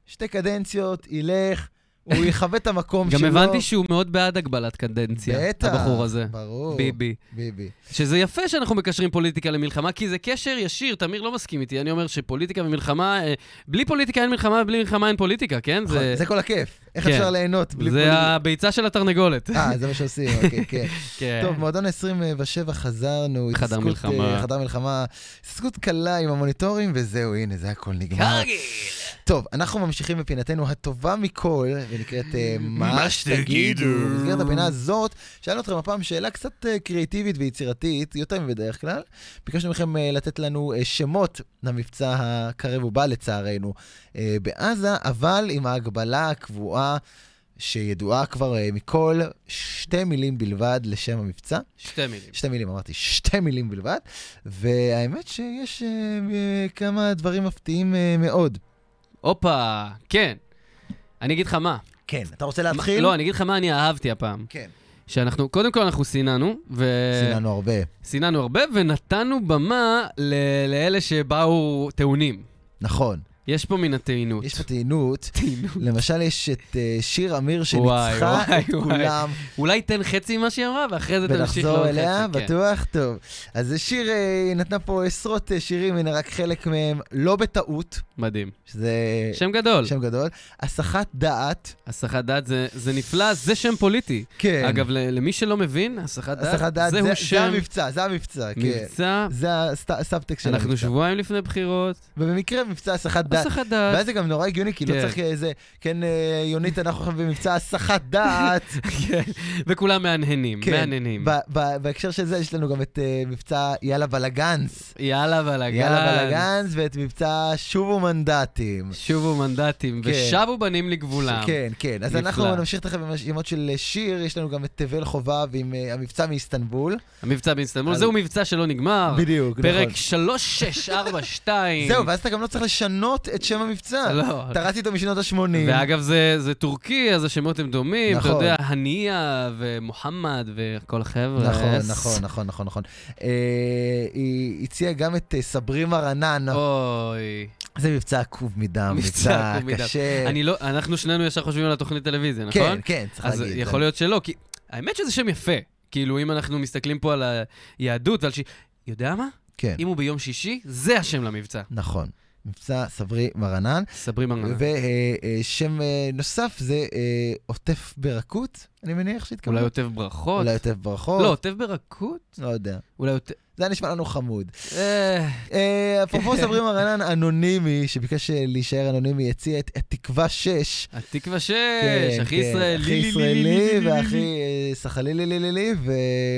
שתי קדנציות, ילך, הוא יכבה את המקום
גם
שלו.
הבנתי שהוא מאוד בעד הגבלת קדנציה,
בטח,
הבחור הזה.
ברור.
ביבי.
ביבי.
שזה יפה שאנחנו מקשרים פוליטיקה למלחמה, כי זה קשר ישיר, תמיר לא מסכים איתי, אני אומר שפוליטיקה ומלחמה, אה, בלי פוליטיקה אין מלחמה, בלי מלחמה אין פוליטיקה, כן?
זה...
זה,
נכון, זה כל הכיף. איך
כן.
אפשר ליהנות בלי...
זה
פוליטיקה?
הביצה
<laughs>
של התרנגולת.
אה, זה מה שעושים,
<laughs>
אוקיי, כן.
כן.
טוב, מועדון 27 חזרנו.
חדר
התעסקות,
מלחמה.
אה, חדר מלחמה. התעסקות קלה עם המוניטורים, וזהו, הנה, זה הכל נגמר.
כרגיל.
טוב, אנחנו ממשיכים בפינתנו הטובה מכל, ונקראת אה, מה
מה
שתגידו.
שתגידו.
במסגרת הפינה הזאת, שאלנו אתכם הפעם שאלה קצת אה, קריאטיבית ויצירתית, יותר מבדרך כלל. ביקשנו מכם אה, לתת לנו אה, שמות למבצע הקרב ובא לצערנו אה, בעזה, אבל עם ההגבלה הקבועה שידועה כבר אה, מכל, שתי מילים בלבד לשם המבצע.
שתי מילים.
שתי מילים, אמרתי, שתי מילים בלבד. והאמת שיש אה, אה, כמה דברים מפתיעים אה, מאוד.
הופה, כן. אני אגיד לך מה.
כן, אתה רוצה להתחיל?
לא, אני אגיד לך מה אני אהבתי הפעם.
כן.
שאנחנו, קודם כל אנחנו סיננו, ו...
סיננו הרבה.
סיננו הרבה, ונתנו במה ל- לאלה שבאו טעונים.
נכון.
יש פה מן הטעינות.
יש פה טעינות.
טעינות.
למשל, יש את אה, שיר אמיר
וואי,
שניצחה
וואי,
את
וואי.
כולם,
<laughs> אולי תן חצי ממה שהיא אמרה, ואחרי זה תמשיך
ונחזור
לעוד חצי.
אליה,
כן.
בטוח טוב. אז זה שיר, אה, היא נתנה פה עשרות אה, שירים, הנה רק חלק מהם לא בטעות,
כן. מדהים.
שזה
שם גדול.
אה, שם גדול. הסחת דעת.
הסחת דעת זה, זה נפלא, זה שם פוליטי.
כן.
אגב, ל- למי שלא מבין, הסחת
הסחת
דעת,
דעת,
זהו
זה- זה
שם
המבצע, זה המבצע, כן.
מבצע.
זה הסאבטק של
אנחנו
המבצע.
שבועיים לפני בחירות,
ובמקרה מבצע הסחת דעת.
הסחת דעת.
ואז זה גם נורא הגיוני, כי לא
כן.
צריך איזה, כן, אה, יונית, אנחנו עכשיו במבצע הסחת
<laughs>
דעת.
<laughs> כן. וכולם מהנהנים,
כן.
מהנהנים.
ב- ב- בהקשר של זה, יש לנו גם את אה, מבצע יאללה בלאגנס.
יאללה בלאגן.
יאללה בלאגנס, ואת מבצע שובו מנדטים.
שובו מנדטים,
כן.
ושבו בנים לגבולם.
כן, כן. אז
נפלא.
אנחנו נמשיך תכף עם השמות של אה, שיר, יש לנו גם את תבל חובב עם אה, המבצע מאיסטנבול.
המבצע באיסטנבול,
אז-
זהו מבצע שלא נגמר.
בדיוק,
אה, פרק
נכון.
3642.
זהו, ואז אתה גם לא צריך לשנות את שם המבצע.
לא.
טרדתי אותו משנות ה-80.
ואגב, זה, זה טורקי, אז השמות הם דומים.
נכון.
אתה יודע, הניה ומוחמד וכל החבר'ה.
נכון, נכון, נכון, נכון, נכון. אה, היא הציעה גם את אה, סברימה רנן.
אוי.
זה מבצע עקוב מדם,
מבצע
מבצע
עקוב מדם.
קשה.
אני לא, אנחנו שנינו ישר חושבים על התוכנית טלוויזיה, נכון?
אה. כן, כן, צריך
אז
להגיד.
יכול להיות שלא, כי האמת שזה שם יפה. כאילו, אם אנחנו מסתכלים פה על היהדות ועל ש... יודע מה?
כן,
אם הוא ביום שישי, זה השם למבצע.
נכון. מבצע סברי מרנן,
נכון.
אה,
סברי מרנן.
ושם נוסף זה אה, עוטף ברכות, אני מניח שהתכוונו.
אולי עוטף ברכות?
אולי יותר ברכות.
לא, עוטף ברכות?
לא יודע.
אולי עוטף...
זה היה נשמע לנו חמוד.
אה,
אה, אפרופו סברי מרנן, אנונימי, שביקש אה, להישאר אנונימי, הציע את התקווה 6.
התקווה 6, הכי ישראלי.
הכי
לי, לי, לי, לי, לי, לי,
כן, ישראלי
לי.
והכי אה, סחלילי לי לי לי,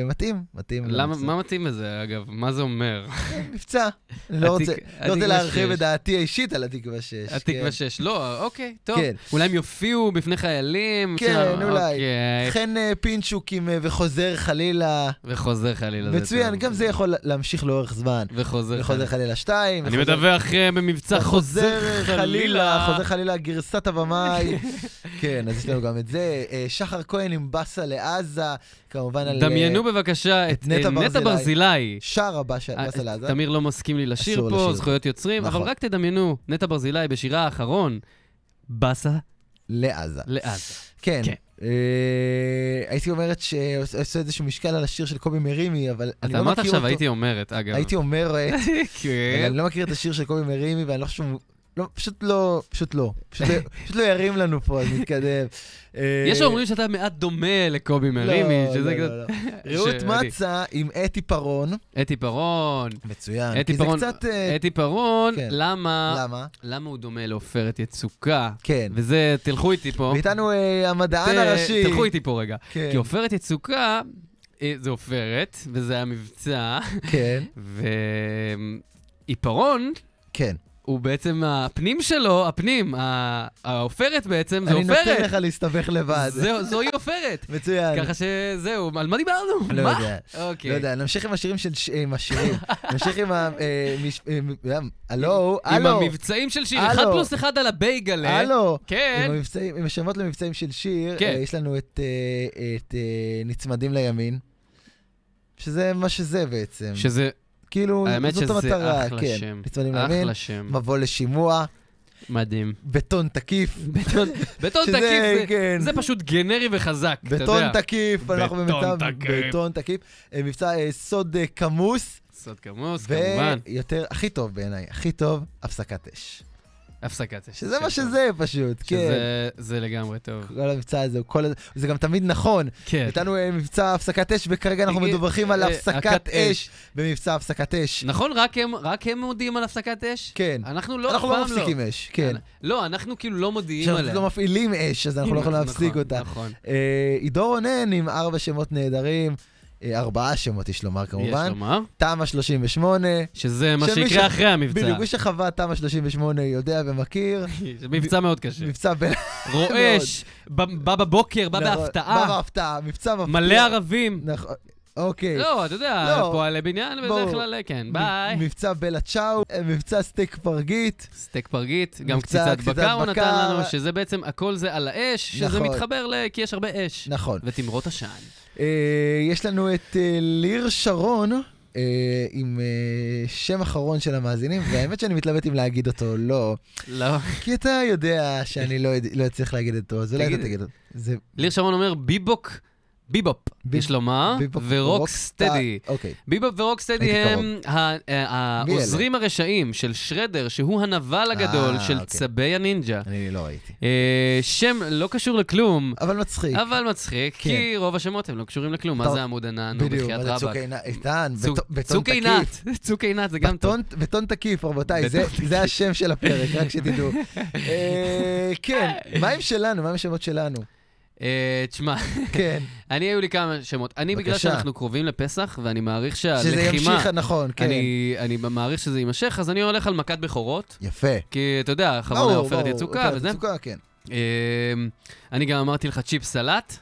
ומתאים, מתאים.
למה,
למבצע.
מה מתאים בזה, אגב? מה זה אומר?
מבצע. אני לא רוצה-
התק-
לא רוצה
התקווה
להרחיב
שש.
את דעתי האישית על התקווה 6.
התקווה 6. לא, אוקיי, טוב.
כן.
אולי הם יופיעו בפני חיילים?
כן,
בסדר,
אולי.
אוקיי.
חן אה, פינצ'וקים אה, וחוזר חלילה.
וחוזר חלילה.
מצוין,
טוב.
גם זה יכול להמשיך לאורך זמן.
וחוזר
וחוזר
חלילה.
חלילה 2.
אני מדווח אה, במבצע חוזר חלילה.
חוזר חלילה, גרסת
<laughs>
הבמאי. כן, אז יש לנו גם את זה. אה, שחר כהן עם באסה לעזה, כמובן על... אה,
דמיינו בבקשה את
את נטע
אה, נטע
ברזילי.
ברזילי.
שר הבאסה
אה,
באסה לעזה.
תמיר לא מסכים לי לשיר
אסור
פה,
לשיר.
זכויות יוצרים, אבל
נכון.
רק תדמיינו, נטע ברזילי בשירה האחרון, באסה
לעזה.
לעזה.
כן.
כן.
אה, הייתי אומרת שעשו איזשהו משקל על השיר של קובי מרימי, אבל אני לא
אתה
מכיר
אמרת
אותו.
עכשיו, הייתי אומרת, אגב. <laughs>
הייתי אומרת, <laughs> אבל
כן.
אני לא מכיר את השיר של קובי מרימי, ואני לא חושב... לא, פשוט לא, פשוט לא. פשוט לא-
<laughs>
פשוט לא ירים לנו פה, אז נתקדם. אה,
יש האומרים שאתה מעט דומה לקובי
לא,
מרימי, שזה
לא,
קצת...
לא, לא.
<laughs>
רעות
שאני.
מצה עם אתי פרון.
אתי פרון,
מצוין.
אתי
כי זה
פרון,
קצת... אה,
אתי פרון,
כן.
למה
למה?
למה הוא דומה לעופרת יצוקה?
כן.
וזה, תלכו איתי פה.
ואיתנו אה, המדען
ת-
הראשי.
תלכו איתי פה רגע.
כן,
כי עופרת יצוקה, אה, זה עופרת, וזה המבצע, <laughs>
כן,
ועיפרון
כן.
הוא בעצם הפנים שלו, הפנים, ה- העופרת בעצם, זה
אני נותן לך
עופרת.
להסתבך לבד.
זהו, זוהי עופרת.
מצוין.
ככה שזהו, על מה דיברנו?
לא
מה?
יודע. לא
אוקיי.
יודע, נמשיך עם השירים של... ש- עם
<laughs>
השירים. נמשיך עם ה... אה, מש- אה, מ- אה, הלו,
עם
הלו,
המבצעים של שיר,
הלו.
אחד פלוס אחד על הבייגלה.
הלו.
כן.
עם המבצעים, עם השמות למבצעים של שיר,
כן.
אה, יש לנו את אה, את, אה, נצמדים לימין, שזה מה שזה בעצם.
שזה,
כאילו,
האמת
זאת
שזה
המטרה,
אחלה
כן.
שם.
נצמדים לימין,
אחלה שם.
מבוא לשימוע, <laughs>
מדהים.
בטון תקיף.
בטון בטון
שזה,
תקיף, זה-
כן.
זה פשוט גנרי וחזק, אתה יודע.
בטון תקיף, אנחנו
בטון
במצב
תקיף.
בטון תקיף. אה, מבצע אה, סוד אה, כמוס,
סוד כמוס, כמובן.
ויותר, הכי טוב בעיניי, הכי טוב, הפסקת אש.
הפסקת אש.
שזה
שם.
מה שזה פשוט, כן.
שזה זה לגמרי
<laughs>
טוב.
כל המבצע הזה, הוא כל... הז- זה גם תמיד נכון.
כן.
נתנו אה, מבצע הפסקת אש, וכרגע אנחנו
אה,
מדווחים על
אה,
הפסקת
הכת
אש במבצע הפסקת אש.
נכון, רק הם- רק הם מודיעים על הפסקת אש?
כן.
אנחנו לא,
אנחנו
אף
לא
פעם
מפסיקים אש, כן.
אנ- לא, אנחנו כאילו לא מודיעים
כשאנחנו
עליה.
לא מפעילים אש, אז אנחנו לא יכולים להפסיק
נכון,
אותה.
נכון.
אה, עידו רונן עם ארבע שמות נהדרים, אה, ארבעה שמות יש לומר
יש
כמובן,
לומר
תמ"א 38,
שזה מה
שמי
שיקרה
ש-
אחרי המבצע.
בדיוק מי שחווה תמ"א 38 יודע ומכיר,
זה מבצע מאוד קשה.
מבצע בין...
רועש, ב- בא בבוקר, בא
נכון, בא
בהפתעה,
בהפתעה, מבצע מפתיע.
מלא ערבים.
נכון, אוקיי.
לא, אתה יודע,
לא.
פועלי בניין בדרך
בואו.
כלל, כן,
מ-
ביי.
מבצע בלה צ'או, אה, מבצע סטייק פרגית.
סטייק פרגית, גם
מבצע,
קציצת
קציצת
בקר הוא נתן
בקר.
לנו, שזה בעצם, הכל זה על האש, שזה
נכון.
מתחבר ל... כי יש הרבה אש.
נכון.
ותמרות עשן.
אה, יש לנו את אה, ליר שרון. אה, עם אה, שם אחרון של המאזינים, והאמת שאני מתלבט אם להגיד אותו או לא,
לא. <laughs>
כי אתה יודע שאני לא יודע- לא אצליח להגיד אותו, אז אולי
תגיד.
אתה תגיד אותו. זה
ליר אה? שרון אומר ביבוק, ביבופ,
ביב-
יש לומר,
ביבופ
ורוקסטדי.
רוקסטאר, אוקיי,
ביבופ ורוקסטדי
הייתי
הם ה- ה-
מי אלה?
העוזרים הרשעים של שרדר, שהוא הנבל הגדול
אה,
של
אוקיי.
צבי הנינג'ה.
אני לא ראיתי.
אה, שם לא קשור לכלום.
אבל מצחיק.
אבל מצחיק,
כן.
כי רוב השמות הם לא קשורים לכלום. מה
טוב,
זה עמוד ענן? נו,
בדיוק,
בחייאת
מה זה צוק
רבאק.
עינת, איתן,
צוק-
בטון- בטון
צוק
תקיף.
עינת, <laughs> צוק עינת זה גם טוב.
בטון- בטון תקיף, רבותיי, זה-
בטון
זה השם של הפרק, רק שתדעו. אה, כן, מה עם שלנו? מה עם השמות שלנו?
אה, תשמע, <laughs>
כן,
אני, היו לי כמה שמות. אני, בגלל
בבקשה.
שאנחנו קרובים לפסח, ואני מעריך
שזה
שהלחימה...
ימשיך, נכון, כן.
אה, אני, אני מעריך שזה יימשך, אז אני הולך על מכת בכורות,
יפה.
כי אתה יודע,
ברור,
חברה עופרת
ברור,
יצוקה וזה.
עופרת יצוקה, כן.
אמ, אני גם אמרתי לך צ'יפ סלט,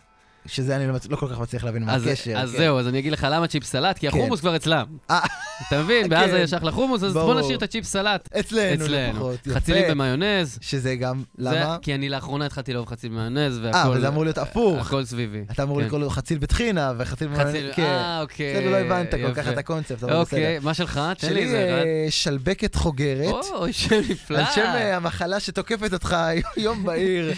שזה אני לא מצ- לא כל כך מצליח להבין מה
אז,
הקשר.
אז
כן.
זהו, אז אני אגיד לך למה צ'יפ סלט, כי
כן.
החומוס כבר אצלם.
אה.
אתה מבין? בעזה
כן.
יש אחלה חומוס, אז בוא
ברור. כן,
נשאיר את הצ'יפ סלט
אצלנו
אצלנו.
לפחות. יפה.
חצילים במיונז.
שזה גם,
זה-
למה?
כי אני לאחרונה התחלתי לאהוב חציל במיונז, והכל...
אה, אבל זה אמור להיות הפוך.
הכל סביבי.
אתה אמור
כן.
לקרוא לו חציל בטחינה וחציל...
חציל...
כן.
אה, אוקיי.
בסדר, לא הבנת כל כך
יפה.
את הקונספט, אבל בסדר.
אוקיי, מה שלך? תן לי
שלי
איזה אחד.
אה, שלבקת חוגרת.
אוי, שם נפלא.
על שם אה, המחלה שתוקפת אותך <laughs> יום בהיר,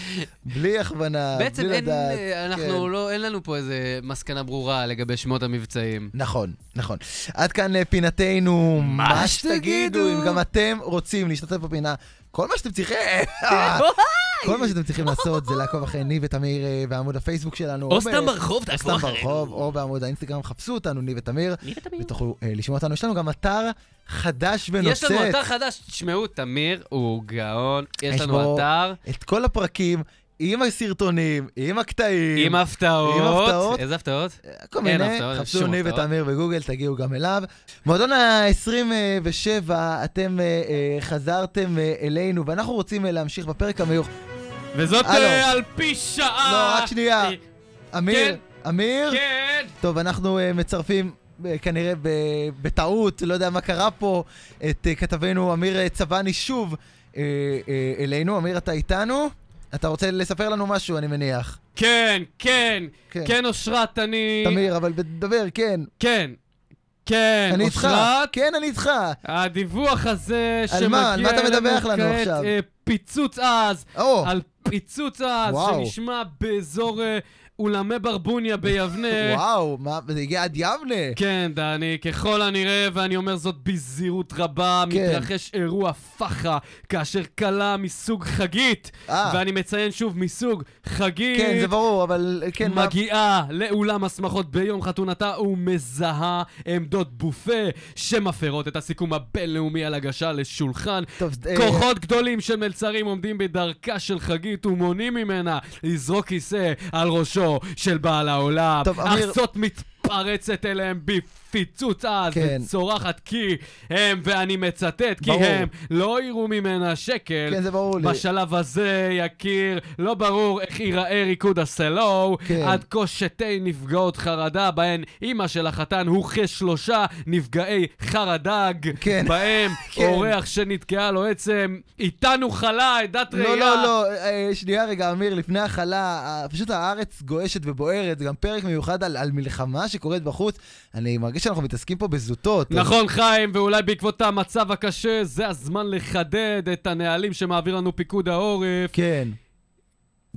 בלי הכוונה,
בעצם
בלי
אין,
לדעת.
אה, אנחנו
כן.
לא, אין לנו פה איזה מסקנה ברורה לגבי שמות המבצעים.
נכון, נכון. עד כאן אה, פינתנו,
מה
מה
שתגידו.
שתגידו, אם גם אתם רוצים להשתתף בפינה, כל מה שאתם
<laughs>
צריכים, כל מה שאתם צריכים לעשות זה לעקוב אחרי ניב ותמיר אה, בעמוד הפייסבוק שלנו.
או
ב-
סתם ברחוב,
או
תעקבו
סתם
אחרינו.
ברחוב, או בעמוד האינסטגרם, חפשו אותנו, ניב ותמיר,
מי ותמיר?
ותוכלו אה, לשמוע אותנו. יש לנו גם אתר חדש
יש לנו
ונוצץ.
אתר חדש, תשמעו, תמיר הוא גאון,
יש
יש
בו-
לנו אתר
את כל הפרקים, עם הסרטונים, עם הקטעים.
עם הפתעות.
הפתעות.
איזה הפתעות?
כל
אין
מיני,
הפתעות,
חפשו
שום
ניב
הפתעות.
ותמיר בגוגל, תגיעו גם אליו. מועדון ה-27, אתם אה, אה, חזרתם אה, אלינו, ואנחנו רוצים אה, להמשיך בפרק המיוח.
וזאת
הלו.
אה, על פי שעה.
לא, רק שנייה.
אה,
אמיר, אמיר?
כן.
טוב, אנחנו אה, מצרפים אה, כנראה ב- בטעות, לא יודע מה קרה פה, את אה, כתבנו אמיר אה, צבני שוב אה, אה, אלינו. אמיר, אתה איתנו? אתה רוצה לספר לנו משהו, אני מניח.
כן, כן,
כן.
כן, אושרת, אני...
תמיר, אבל בדבר, כן.
כן, כן,
אני איתך.
אושרת.
כן, אני איתך.
הדיווח הזה
על מה? על מה
שמגיע
אתה מדווח
אלינו
לנו
כעת,
עכשיו?
אה, פיצוץ עז,
או,
על פיצוץ עז
וואו.
שנשמע באזור אה, אולמי ברבוניה ביבנה.
וואו, מה, זה הגיע עד יבנה.
כן, דני, ככל הנראה, ואני אומר זאת בזהירות רבה,
כן.
כן. מתרחש אירוע פח"ע, כאשר כלה מסוג חגית,
אה.
ואני מציין שוב, מסוג חגית,
כן, זה ברור, אבל אה, כן, מה...
מגיעה לאולם השמחות ביום חתונתה ומזהה עמדות בופה שמפרות את הסיכום הבינלאומי על הגשה לשולחן.
טוב, אה,
כוחות גדולים של מלצרים עומדים בדרכה של חגית ומונעים ממנה לזרוק כיסא על ראשו של בעל העולם.
טוב,
אך
אמיר-
זאת מתפרצת אליהם בפיצוץ עז
כן.
וצורחת כי הם, ואני מצטט, כי
ברור.
הם לא יראו ממנה שקל.
כן, זה ברור לי.
בשלב הזה, יקיר, לא ברור איך ייראה ריקוד הסלו.
כן.
כן. עד כה שתי נפגעות חרדה, בהן אימא של החתן הוא כשלושה נפגעי חרדג.
כן.
בהם
כן.
אורח שנתקעה לו עצם, איתנו חלה, עדת ראייה.
לא, לא, לא, אה, שנייה רגע, אמיר, לפני הכלה, אה, פשוט הארץ גועשת ובוערת, זה גם פרק מיוחד על, על מלחמה שקורית בחוץ. אני מרגיש שאנחנו מתעסקים פה בזוטות. אז-
נכון, חיים, ואולי בעקבות המצב הקשה, זה הזמן לחדד את הנהלים שמעביר לנו פיקוד העורף.
כן.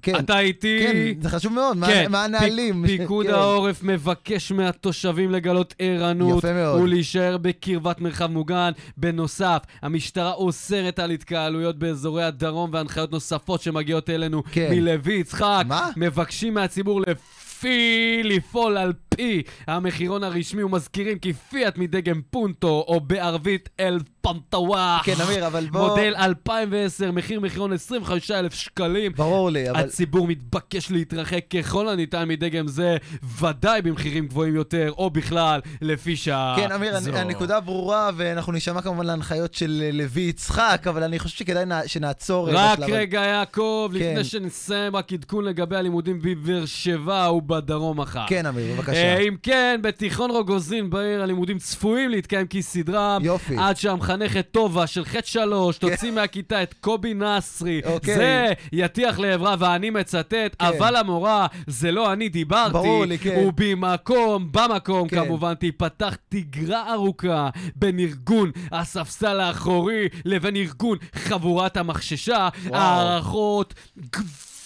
כן,
אתה איתי?
כן, זה חשוב מאוד, מה-
כן,
מה הנהלים? <laughs>
פיק- פיקוד
כן.
העורף מבקש מהתושבים לגלות ערנות
יפה מאוד.
ולהישאר בקרבת מרחב מוגן. בנוסף, המשטרה אוסרת על התקהלויות באזורי הדרום והנחיות נוספות שמגיעות אלינו
כן.
מלוי יצחק.
מה?
מבקשים מהציבור לפי לפעול על פי המחירון הרשמי ומזכירים כי פיאט מדגם פונטו או בערבית אל פנטוואח.
כן, אמיר, אבל בוא...
מודל 2010, מחיר מחירון 25,000 שקלים.
ברור לי, אבל...
הציבור מתבקש להתרחק ככל הניתן מדגם זה, ודאי במחירים גבוהים יותר, או בכלל, לפי שעה
כן, אמיר, הנ-
זו.
הנקודה ברורה, ואנחנו נשמע כמובן להנחיות של אה, לוי יצחק, אבל אני חושב שכדאי נע- שנעצור... אה,
רק
בשלב הזה.
רגע, יעקב,
כן.
לפני שנסיים, רק עדכון לגבי הלימודים בבאר שבע ובדרום מחר.
כן, אמיר, בבקשה.
אה, אם כן, בתיכון רוגוזין בעיר הלימודים צפויים להתקיים כסדרם.
יופי. כן.
עד שהמחנכת טובה של ח' שלוש תוציא מהכיתה את קובי נסרי.
אוקיי. כן.
זה יטיח לעברה, ואני מצטט, אבל המורה, זה לא אני דיברתי.
ברור לי, כן.
ובמקום, במקום
כן.
כמובן, תיפתח תגרה ארוכה בין ארגון הספסל האחורי לבין ארגון חבורת המחששה.
וואו.
הערכות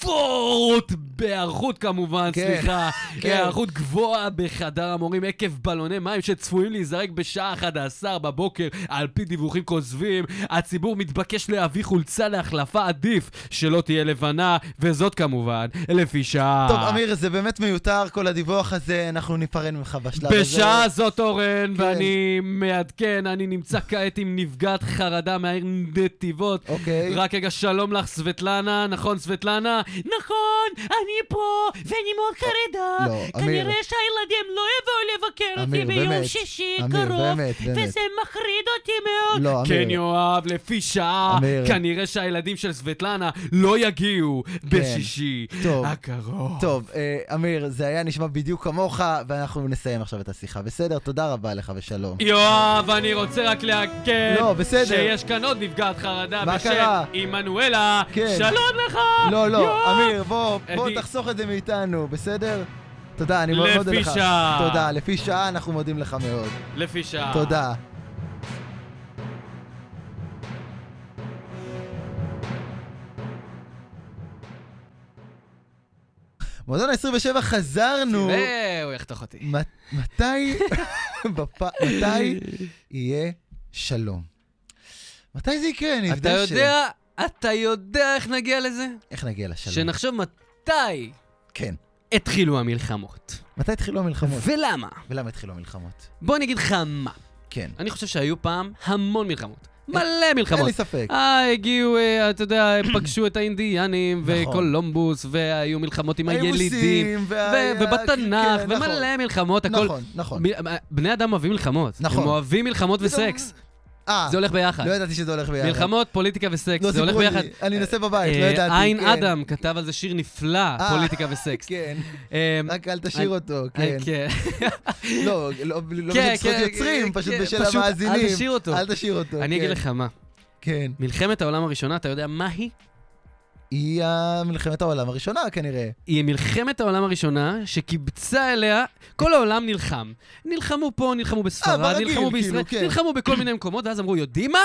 גבוהות, בהיערכות כמובן,
כן.
סליחה.
כן.
היערכות גבוהה בחדר המורים עקב בלוני מים שצפויים להיזרק בשעה 11 בבוקר על פי דיווחים כוזבים. הציבור מתבקש להביא חולצה להחלפה עדיף שלא תהיה לבנה, וזאת כמובן לפי שעה.
טוב, אמיר, זה באמת מיותר, כל הדיווח הזה, אנחנו ניפרד ממך בשלב הזה.
בשעה זאת אורן,
כן.
ואני מעדכן, אני נמצא כעת עם נפגעת חרדה מהעיר נתיבות.
אוקיי.
רק רגע, שלום לך, סבטלנה, נכון, סבטלנה? נכון, אני פה, ואני מאוד חרדה.
לא, אמיר.
כנראה שהילדים לא יבואו לבקר אותי
אמיר,
ביום
באמת.
שישי
אמיר,
קרוב,
באמת, באמת.
וזה מחריד אותי מאוד.
לא, אמיר.
כן, יואב, לפי שעה,
אמיר. כן.
כנראה שהילדים של סבטלנה לא יגיעו בשישי
טוב.
הקרוב.
טוב, אה, אמיר, זה היה נשמע בדיוק כמוך, ואנחנו נסיים עכשיו את השיחה. בסדר? תודה רבה לך ושלום.
יואב, אני רוצה רק להקל
לא, בסדר.
שיש כאן עוד נפגעת חרדה
מה
בשם
קרה?
עמנואלה.
כן.
שלום לך!
לא, לא,
יואב!
אמיר, בוא, בוא
אני-
תחסוך את זה מאיתנו, בסדר? תודה, אני מאוד מודה
לפי
לך.
שעה.
תודה, לפי שעה אנחנו מודים לך מאוד.
לפי שעה.
תודה. מועדון ה-27 חזרנו.
תראה, הוא יחתוך אותי.
מת- מתי, <laughs> בפ- מתי יהיה שלום? מתי זה יקרה? אני
אתה
יודע ש...
יודע, אתה יודע איך נגיע לזה?
איך נגיע לשלום?
שנחשוב מתי
כן.
התחילו המלחמות.
מתי התחילו המלחמות?
ולמה?
ולמה התחילו המלחמות?
בוא אני אגיד לך מה.
כן.
אני חושב שהיו פעם המון מלחמות. מלא מלחמות.
אין לי ספק.
אה, הגיעו, אה, אתה יודע,
<coughs>
פגשו את האינדיאנים,
נכון.
וקולומבוס, והיו מלחמות עם הילידים,
היבוסים,
ו-
וה-
ובתנ"ך,
אה, כן, נכון.
ומלא מלחמות, הכל.
נכון, נכון.
מ- אה, בני אדם אוהבים מלחמות.
נכון.
הם אוהבים מלחמות וסקס.
אה,
זה הולך ביחד.
לא ידעתי שזה הולך ביחד.
מלחמות, פוליטיקה וסקס,
לא,
זה הולך
סיפרו לי.
ביחד.
אני נוסע בבית, לא
אה,
ידעתי,
עין
כן.
אדם כתב על זה שיר נפלא,
אה,
פוליטיקה וסקס.
כן,
אה,
רק אל תשאיר
אני-
אותו,
אה,
כן. לא, לא לא בשביל זכות
כן,
יוצרים,
כן,
פשוט
כן,
בשל
פשוט אל
המאזינים.
תשאיר אותו.
אל תשאיר אותו,
אני אגיד
כן,
לך מה.
כן.
מלחמת העולם הראשונה, אתה יודע מה היא?
היא מלחמת העולם הראשונה כנראה.
היא מלחמת העולם הראשונה שקיבצה אליה, כל העולם נלחם. נלחמו פה, נלחמו בספרד,
ברגיל,
נלחמו בישראל,
כאילו, כן.
נלחמו בכל מיני מקומות, ואז אמרו, יודעים מה?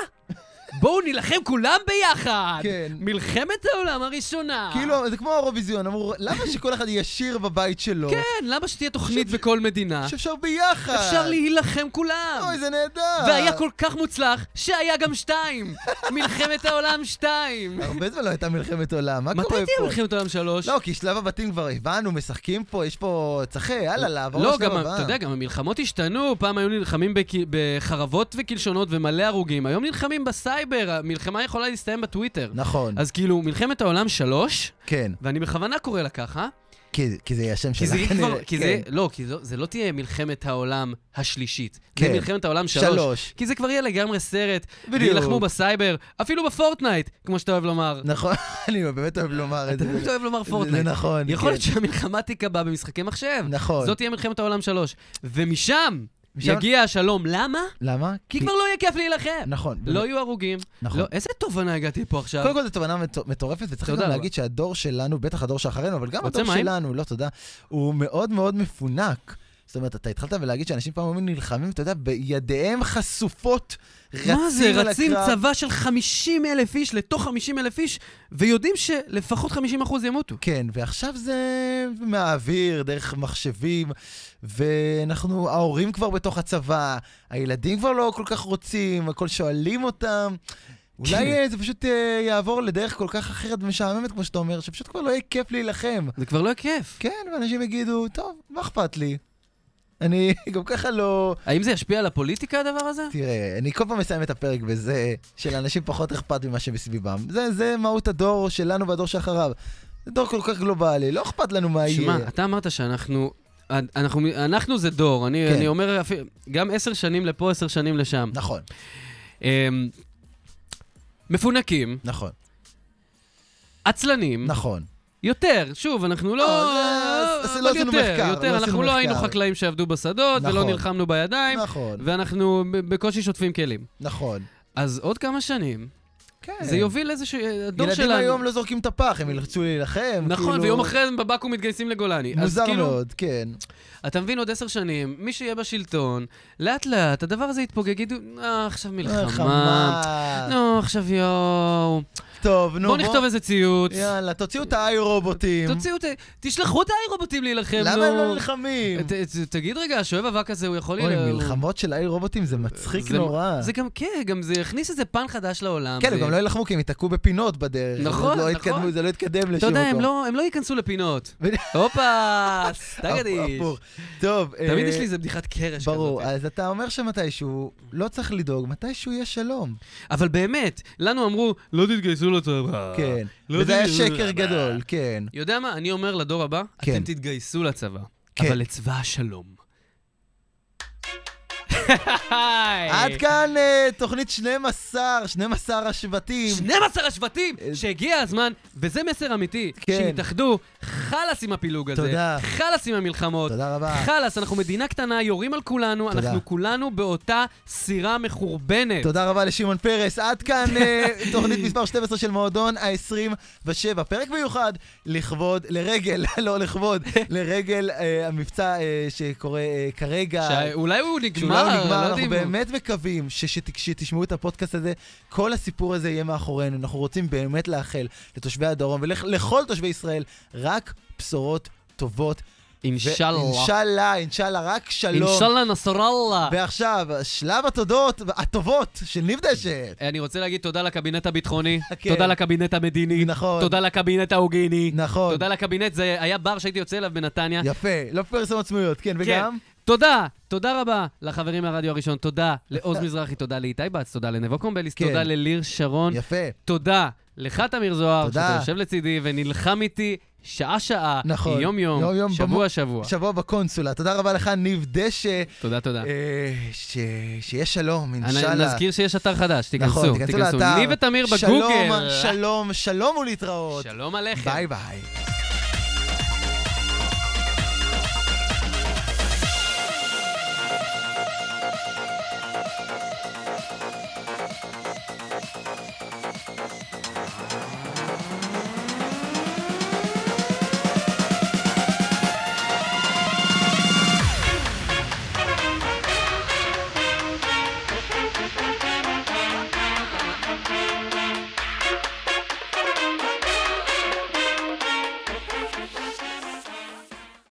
בואו נילחם כולם ביחד!
כן.
מלחמת העולם הראשונה!
כאילו, זה כמו האירוויזיון, אמרו, למה שכל אחד יהיה שיר בבית שלו?
כן, למה שתהיה תוכנית בכל מדינה?
שאפשר ביחד.
אפשר להילחם כולם!
אה. אוי, זה נהדר.
והיה כל כך מוצלח, שהיה גם
<laughs>
שתיים! מלחמת העולם שתיים!
הרבה זמן לא הייתה מלחמת עולם, מה קורה
מתי
פה?
תהיה מלחמת העולם שלוש?
לא, כי שלב הבתים כבר הבנו, משחקים פה, יש פה... צחי, יאללה, לעבור
לא,
לשלב
גם,
הבא.
אתה יודע, גם המלחמות השתנו, פעם היו נלחמים בכ... בחרבות וקלשונות ומלא הרוגים, היום נלחמים בסייבר, המלחמה יכולה להסתיים בטוויטר.
נכון,
אז כאילו, מלחמת העולם שלוש,
כן,
ואני בכוונה קורא לה ככה,
כי- כי זה יהיה השם
כי
שלה
זה יהיה
כנראה,
כבר, כי
כן.
זה, לא, כי זו, זה לא תהיה מלחמת העולם השלישית,
כן.
זה מלחמת העולם שלוש.
שלוש.
כי זה כבר יהיה לגמרי סרט,
בדיוק.
וילחמו בסייבר, אפילו בפורטנייט, כמו שאתה אוהב לומר.
נכון, <laughs> אני באמת אוהב לומר את
אתה
זה.
באמת אוהב לומר
זה-
פורטנייט.
זה נכון,
יכול
כן.
להיות שהמלחמה תיקבע במשחקי מחשב.
נכון.
זאת תהיה מלחמת העולם שלוש. ומשם
משם-
יגיע השלום. למה?
למה?
כי כבר לא יהיה כיף להילחם.
נכון.
לא
באמת.
יהיו הרוגים.
נכון.
לא, איזה תובנה הגעתי פה עכשיו?
קודם כל זו תובנה מטו- מטורפת, וצריך
תודה
גם
רבה.
להגיד שהדור שלנו, בטח הדור שאחרינו, אבל גם
רוצה
הדור
מים?
שלנו, לא תודה, הוא מאוד מאוד מפונק. זאת אומרת, אתה התחלת ולהגיד שאנשים פעם היו נלחמים, אתה יודע, בידיהם חשופות, רצים
מה זה,
על
רצים
הקרב.
צבא של 50 אלף איש לתוך 50 אלף איש, ויודעים שלפחות 50 אחוז ימותו.
כן, ועכשיו זה מהאוויר, דרך מחשבים, ואנחנו, ההורים כבר בתוך הצבא, הילדים כבר לא כל כך רוצים, הכל שואלים אותם.
כן.
אולי אה, זה פשוט אה, יעבור לדרך כל כך אחרת ומשעממת, כמו שאתה אומר, שפשוט כבר לא יהיה כיף להילחם.
זה כבר לא יהיה כיף.
כן, ואנשים יגידו, טוב, מה אכפת לי? אני <laughs> גם ככה לא...
האם זה ישפיע על הפוליטיקה הדבר הזה?
תראה, אני כל פעם מסיים את הפרק בזה שלאנשים פחות אכפת ממה שמסביבם. זה, זה מהות הדור שלנו והדור שאחריו. זה דור כל כך גלובלי, לא אכפת לנו מה יהיה.
שמע, אתה אמרת שאנחנו... אנחנו, אנחנו זה דור, אני,
כן.
אני אומר אפילו, גם עשר שנים לפה, עשר שנים לשם.
נכון,
אמ, מפונקים,
נכון,
עצלנים,
נכון.
יותר, שוב, אנחנו לא...
לא, זה- זה-
אבל
לא עשינו
יותר,
מחקר, לא
יותר,
עשינו
אנחנו לא
מחקר.
היינו חקלאים שעבדו בשדות, ולא
נכון.
נלחמנו בידיים,
נכון,
ואנחנו ב- בקושי שוטפים כלים.
נכון.
אז עוד כמה שנים,
כן.
זה יוביל לאיזשהו... הדור
ילדים
שלנו.
היום לא זורקים את הפח, הם ירצו להילחם.
נכון,
כאילו,
ויום אחרי הם בבקו"ם מתגייסים לגולני. אז
מוזר
כאילו,
מאוד, כן.
אתה מבין, עוד עשר שנים, מי שיהיה בשלטון, לאט לאט הדבר הזה יתפוגג, יגידו, אה, עכשיו מלחמה.
מלחמה.
נו, עכשיו יואו.
טוב, נו,
בוא נכתוב איזה ציוץ.
יאללה, תוציאו את האי רובוטים.
תוציאו את ה... תשלחו את האי-רובוטים להילחם, נו.
למה הם לא נלחמים?
ת- ת- תגיד רגע, השואב אבק הזה, הוא יכול...
אוי,
לה- הוא-
מלחמות של האי רובוטים זה מצחיק
זה-
נורא.
זה גם, כן, גם זה יכניס איזה פן חדש לעולם.
כן,
זה-
הם גם לא יילחמו כי הם ייתקעו בפינות בדרך. הם
נכון,
לא
נכון.
יתקדמו, זה לא יתקדם לשום
אתה
מקום.
יודע, הם
<laughs>
לא- הם לא ייכנסו לפינות. הופה, סטגדיש.
הפוך. טוב,
תמיד
אה,
יש לי איזה בדיחת קרש כזאת.
ברור, אה. אז אתה אומר שמתישהו, לא צריך לדאוג, מתישהו יהיה שלום.
אבל באמת, לנו אמרו, לא תתגייסו לצבא.
כן.
לא
וזה היה
תתגייסו
שקר
לצבא."
גדול, כן.
יודע מה, אני אומר לדור הבא,
כן.
אתם תתגייסו לצבא,
כן.
אבל לצבא השלום.
עד כאן אה, תוכנית 12, 12 השבטים.
12 השבטים
אה,
שהגיע הזמן, וזה מסר אמיתי,
כן.
שיתאחדו, חלאס עם הפילוג הזה,
תודה.
חלאס עם המלחמות,
תודה רבה.
חלאס, אנחנו מדינה קטנה, יורים על כולנו,
תודה.
אנחנו כולנו באותה סירה מחורבנת.
תודה רבה לשמעון פרס. עד כאן אה, תוכנית מספר 12 של מועדון ה-27. פרק מיוחד לכבוד, לרגל, <laughs> לא לכבוד, לרגל אה, המבצע אה, שקורה אה, כרגע.
שאולי הוא
שאולי
נגמר,
הוא
לא
נגמר, אנחנו
יודעים.
באמת מקווים שכשתשמעו את הפודקאסט הזה, כל הסיפור הזה יהיה מאחורינו. אנחנו רוצים באמת לאחל לתושבי הדרום ולכל תושבי ישראל רק בשורות טובות.
אינשאללה.
אינשאללה, אינשאללה, רק שלום.
אינשאללה נסראללה.
ועכשיו, שלב התודות, הטובות של ניב דשא.
<laughs> אני רוצה להגיד תודה לקבינט הביטחוני,
כן.
תודה לקבינט המדיני,
נכון.
תודה לקבינט ההוגיני,
נכון.
תודה לקבינט, זה היה בר שהייתי יוצא אליו בנתניה.
יפה, לא פרסום עצמויות, כן,
כן.
וגם?
תודה, תודה רבה לחברים מהרדיו הראשון, תודה
<laughs>
לעוז מזרחי, תודה לאיתי בץ, תודה לנבו קומבליס,
כן.
תודה לליר שרון,
יפה.
תודה לך, תמיר זוהר,
תודה.
שאתה יושב לצידי ונלחם איתי שעה-שעה,
נכון.
יום-יום,
במו-
שבוע-שבוע.
שבוע בקונסולה. תודה רבה לך, ניב דשא.
תודה, תודה.
אה, ש- שיש שלום,
אני-
אינשאללה.
נזכיר שיש אתר חדש, תיכנסו,
נכון,
תיכנסו. לי ותמיר
שלום,
בגוגל.
שלום, שלום ולהתראות.
שלום עליכם.
ביי ביי.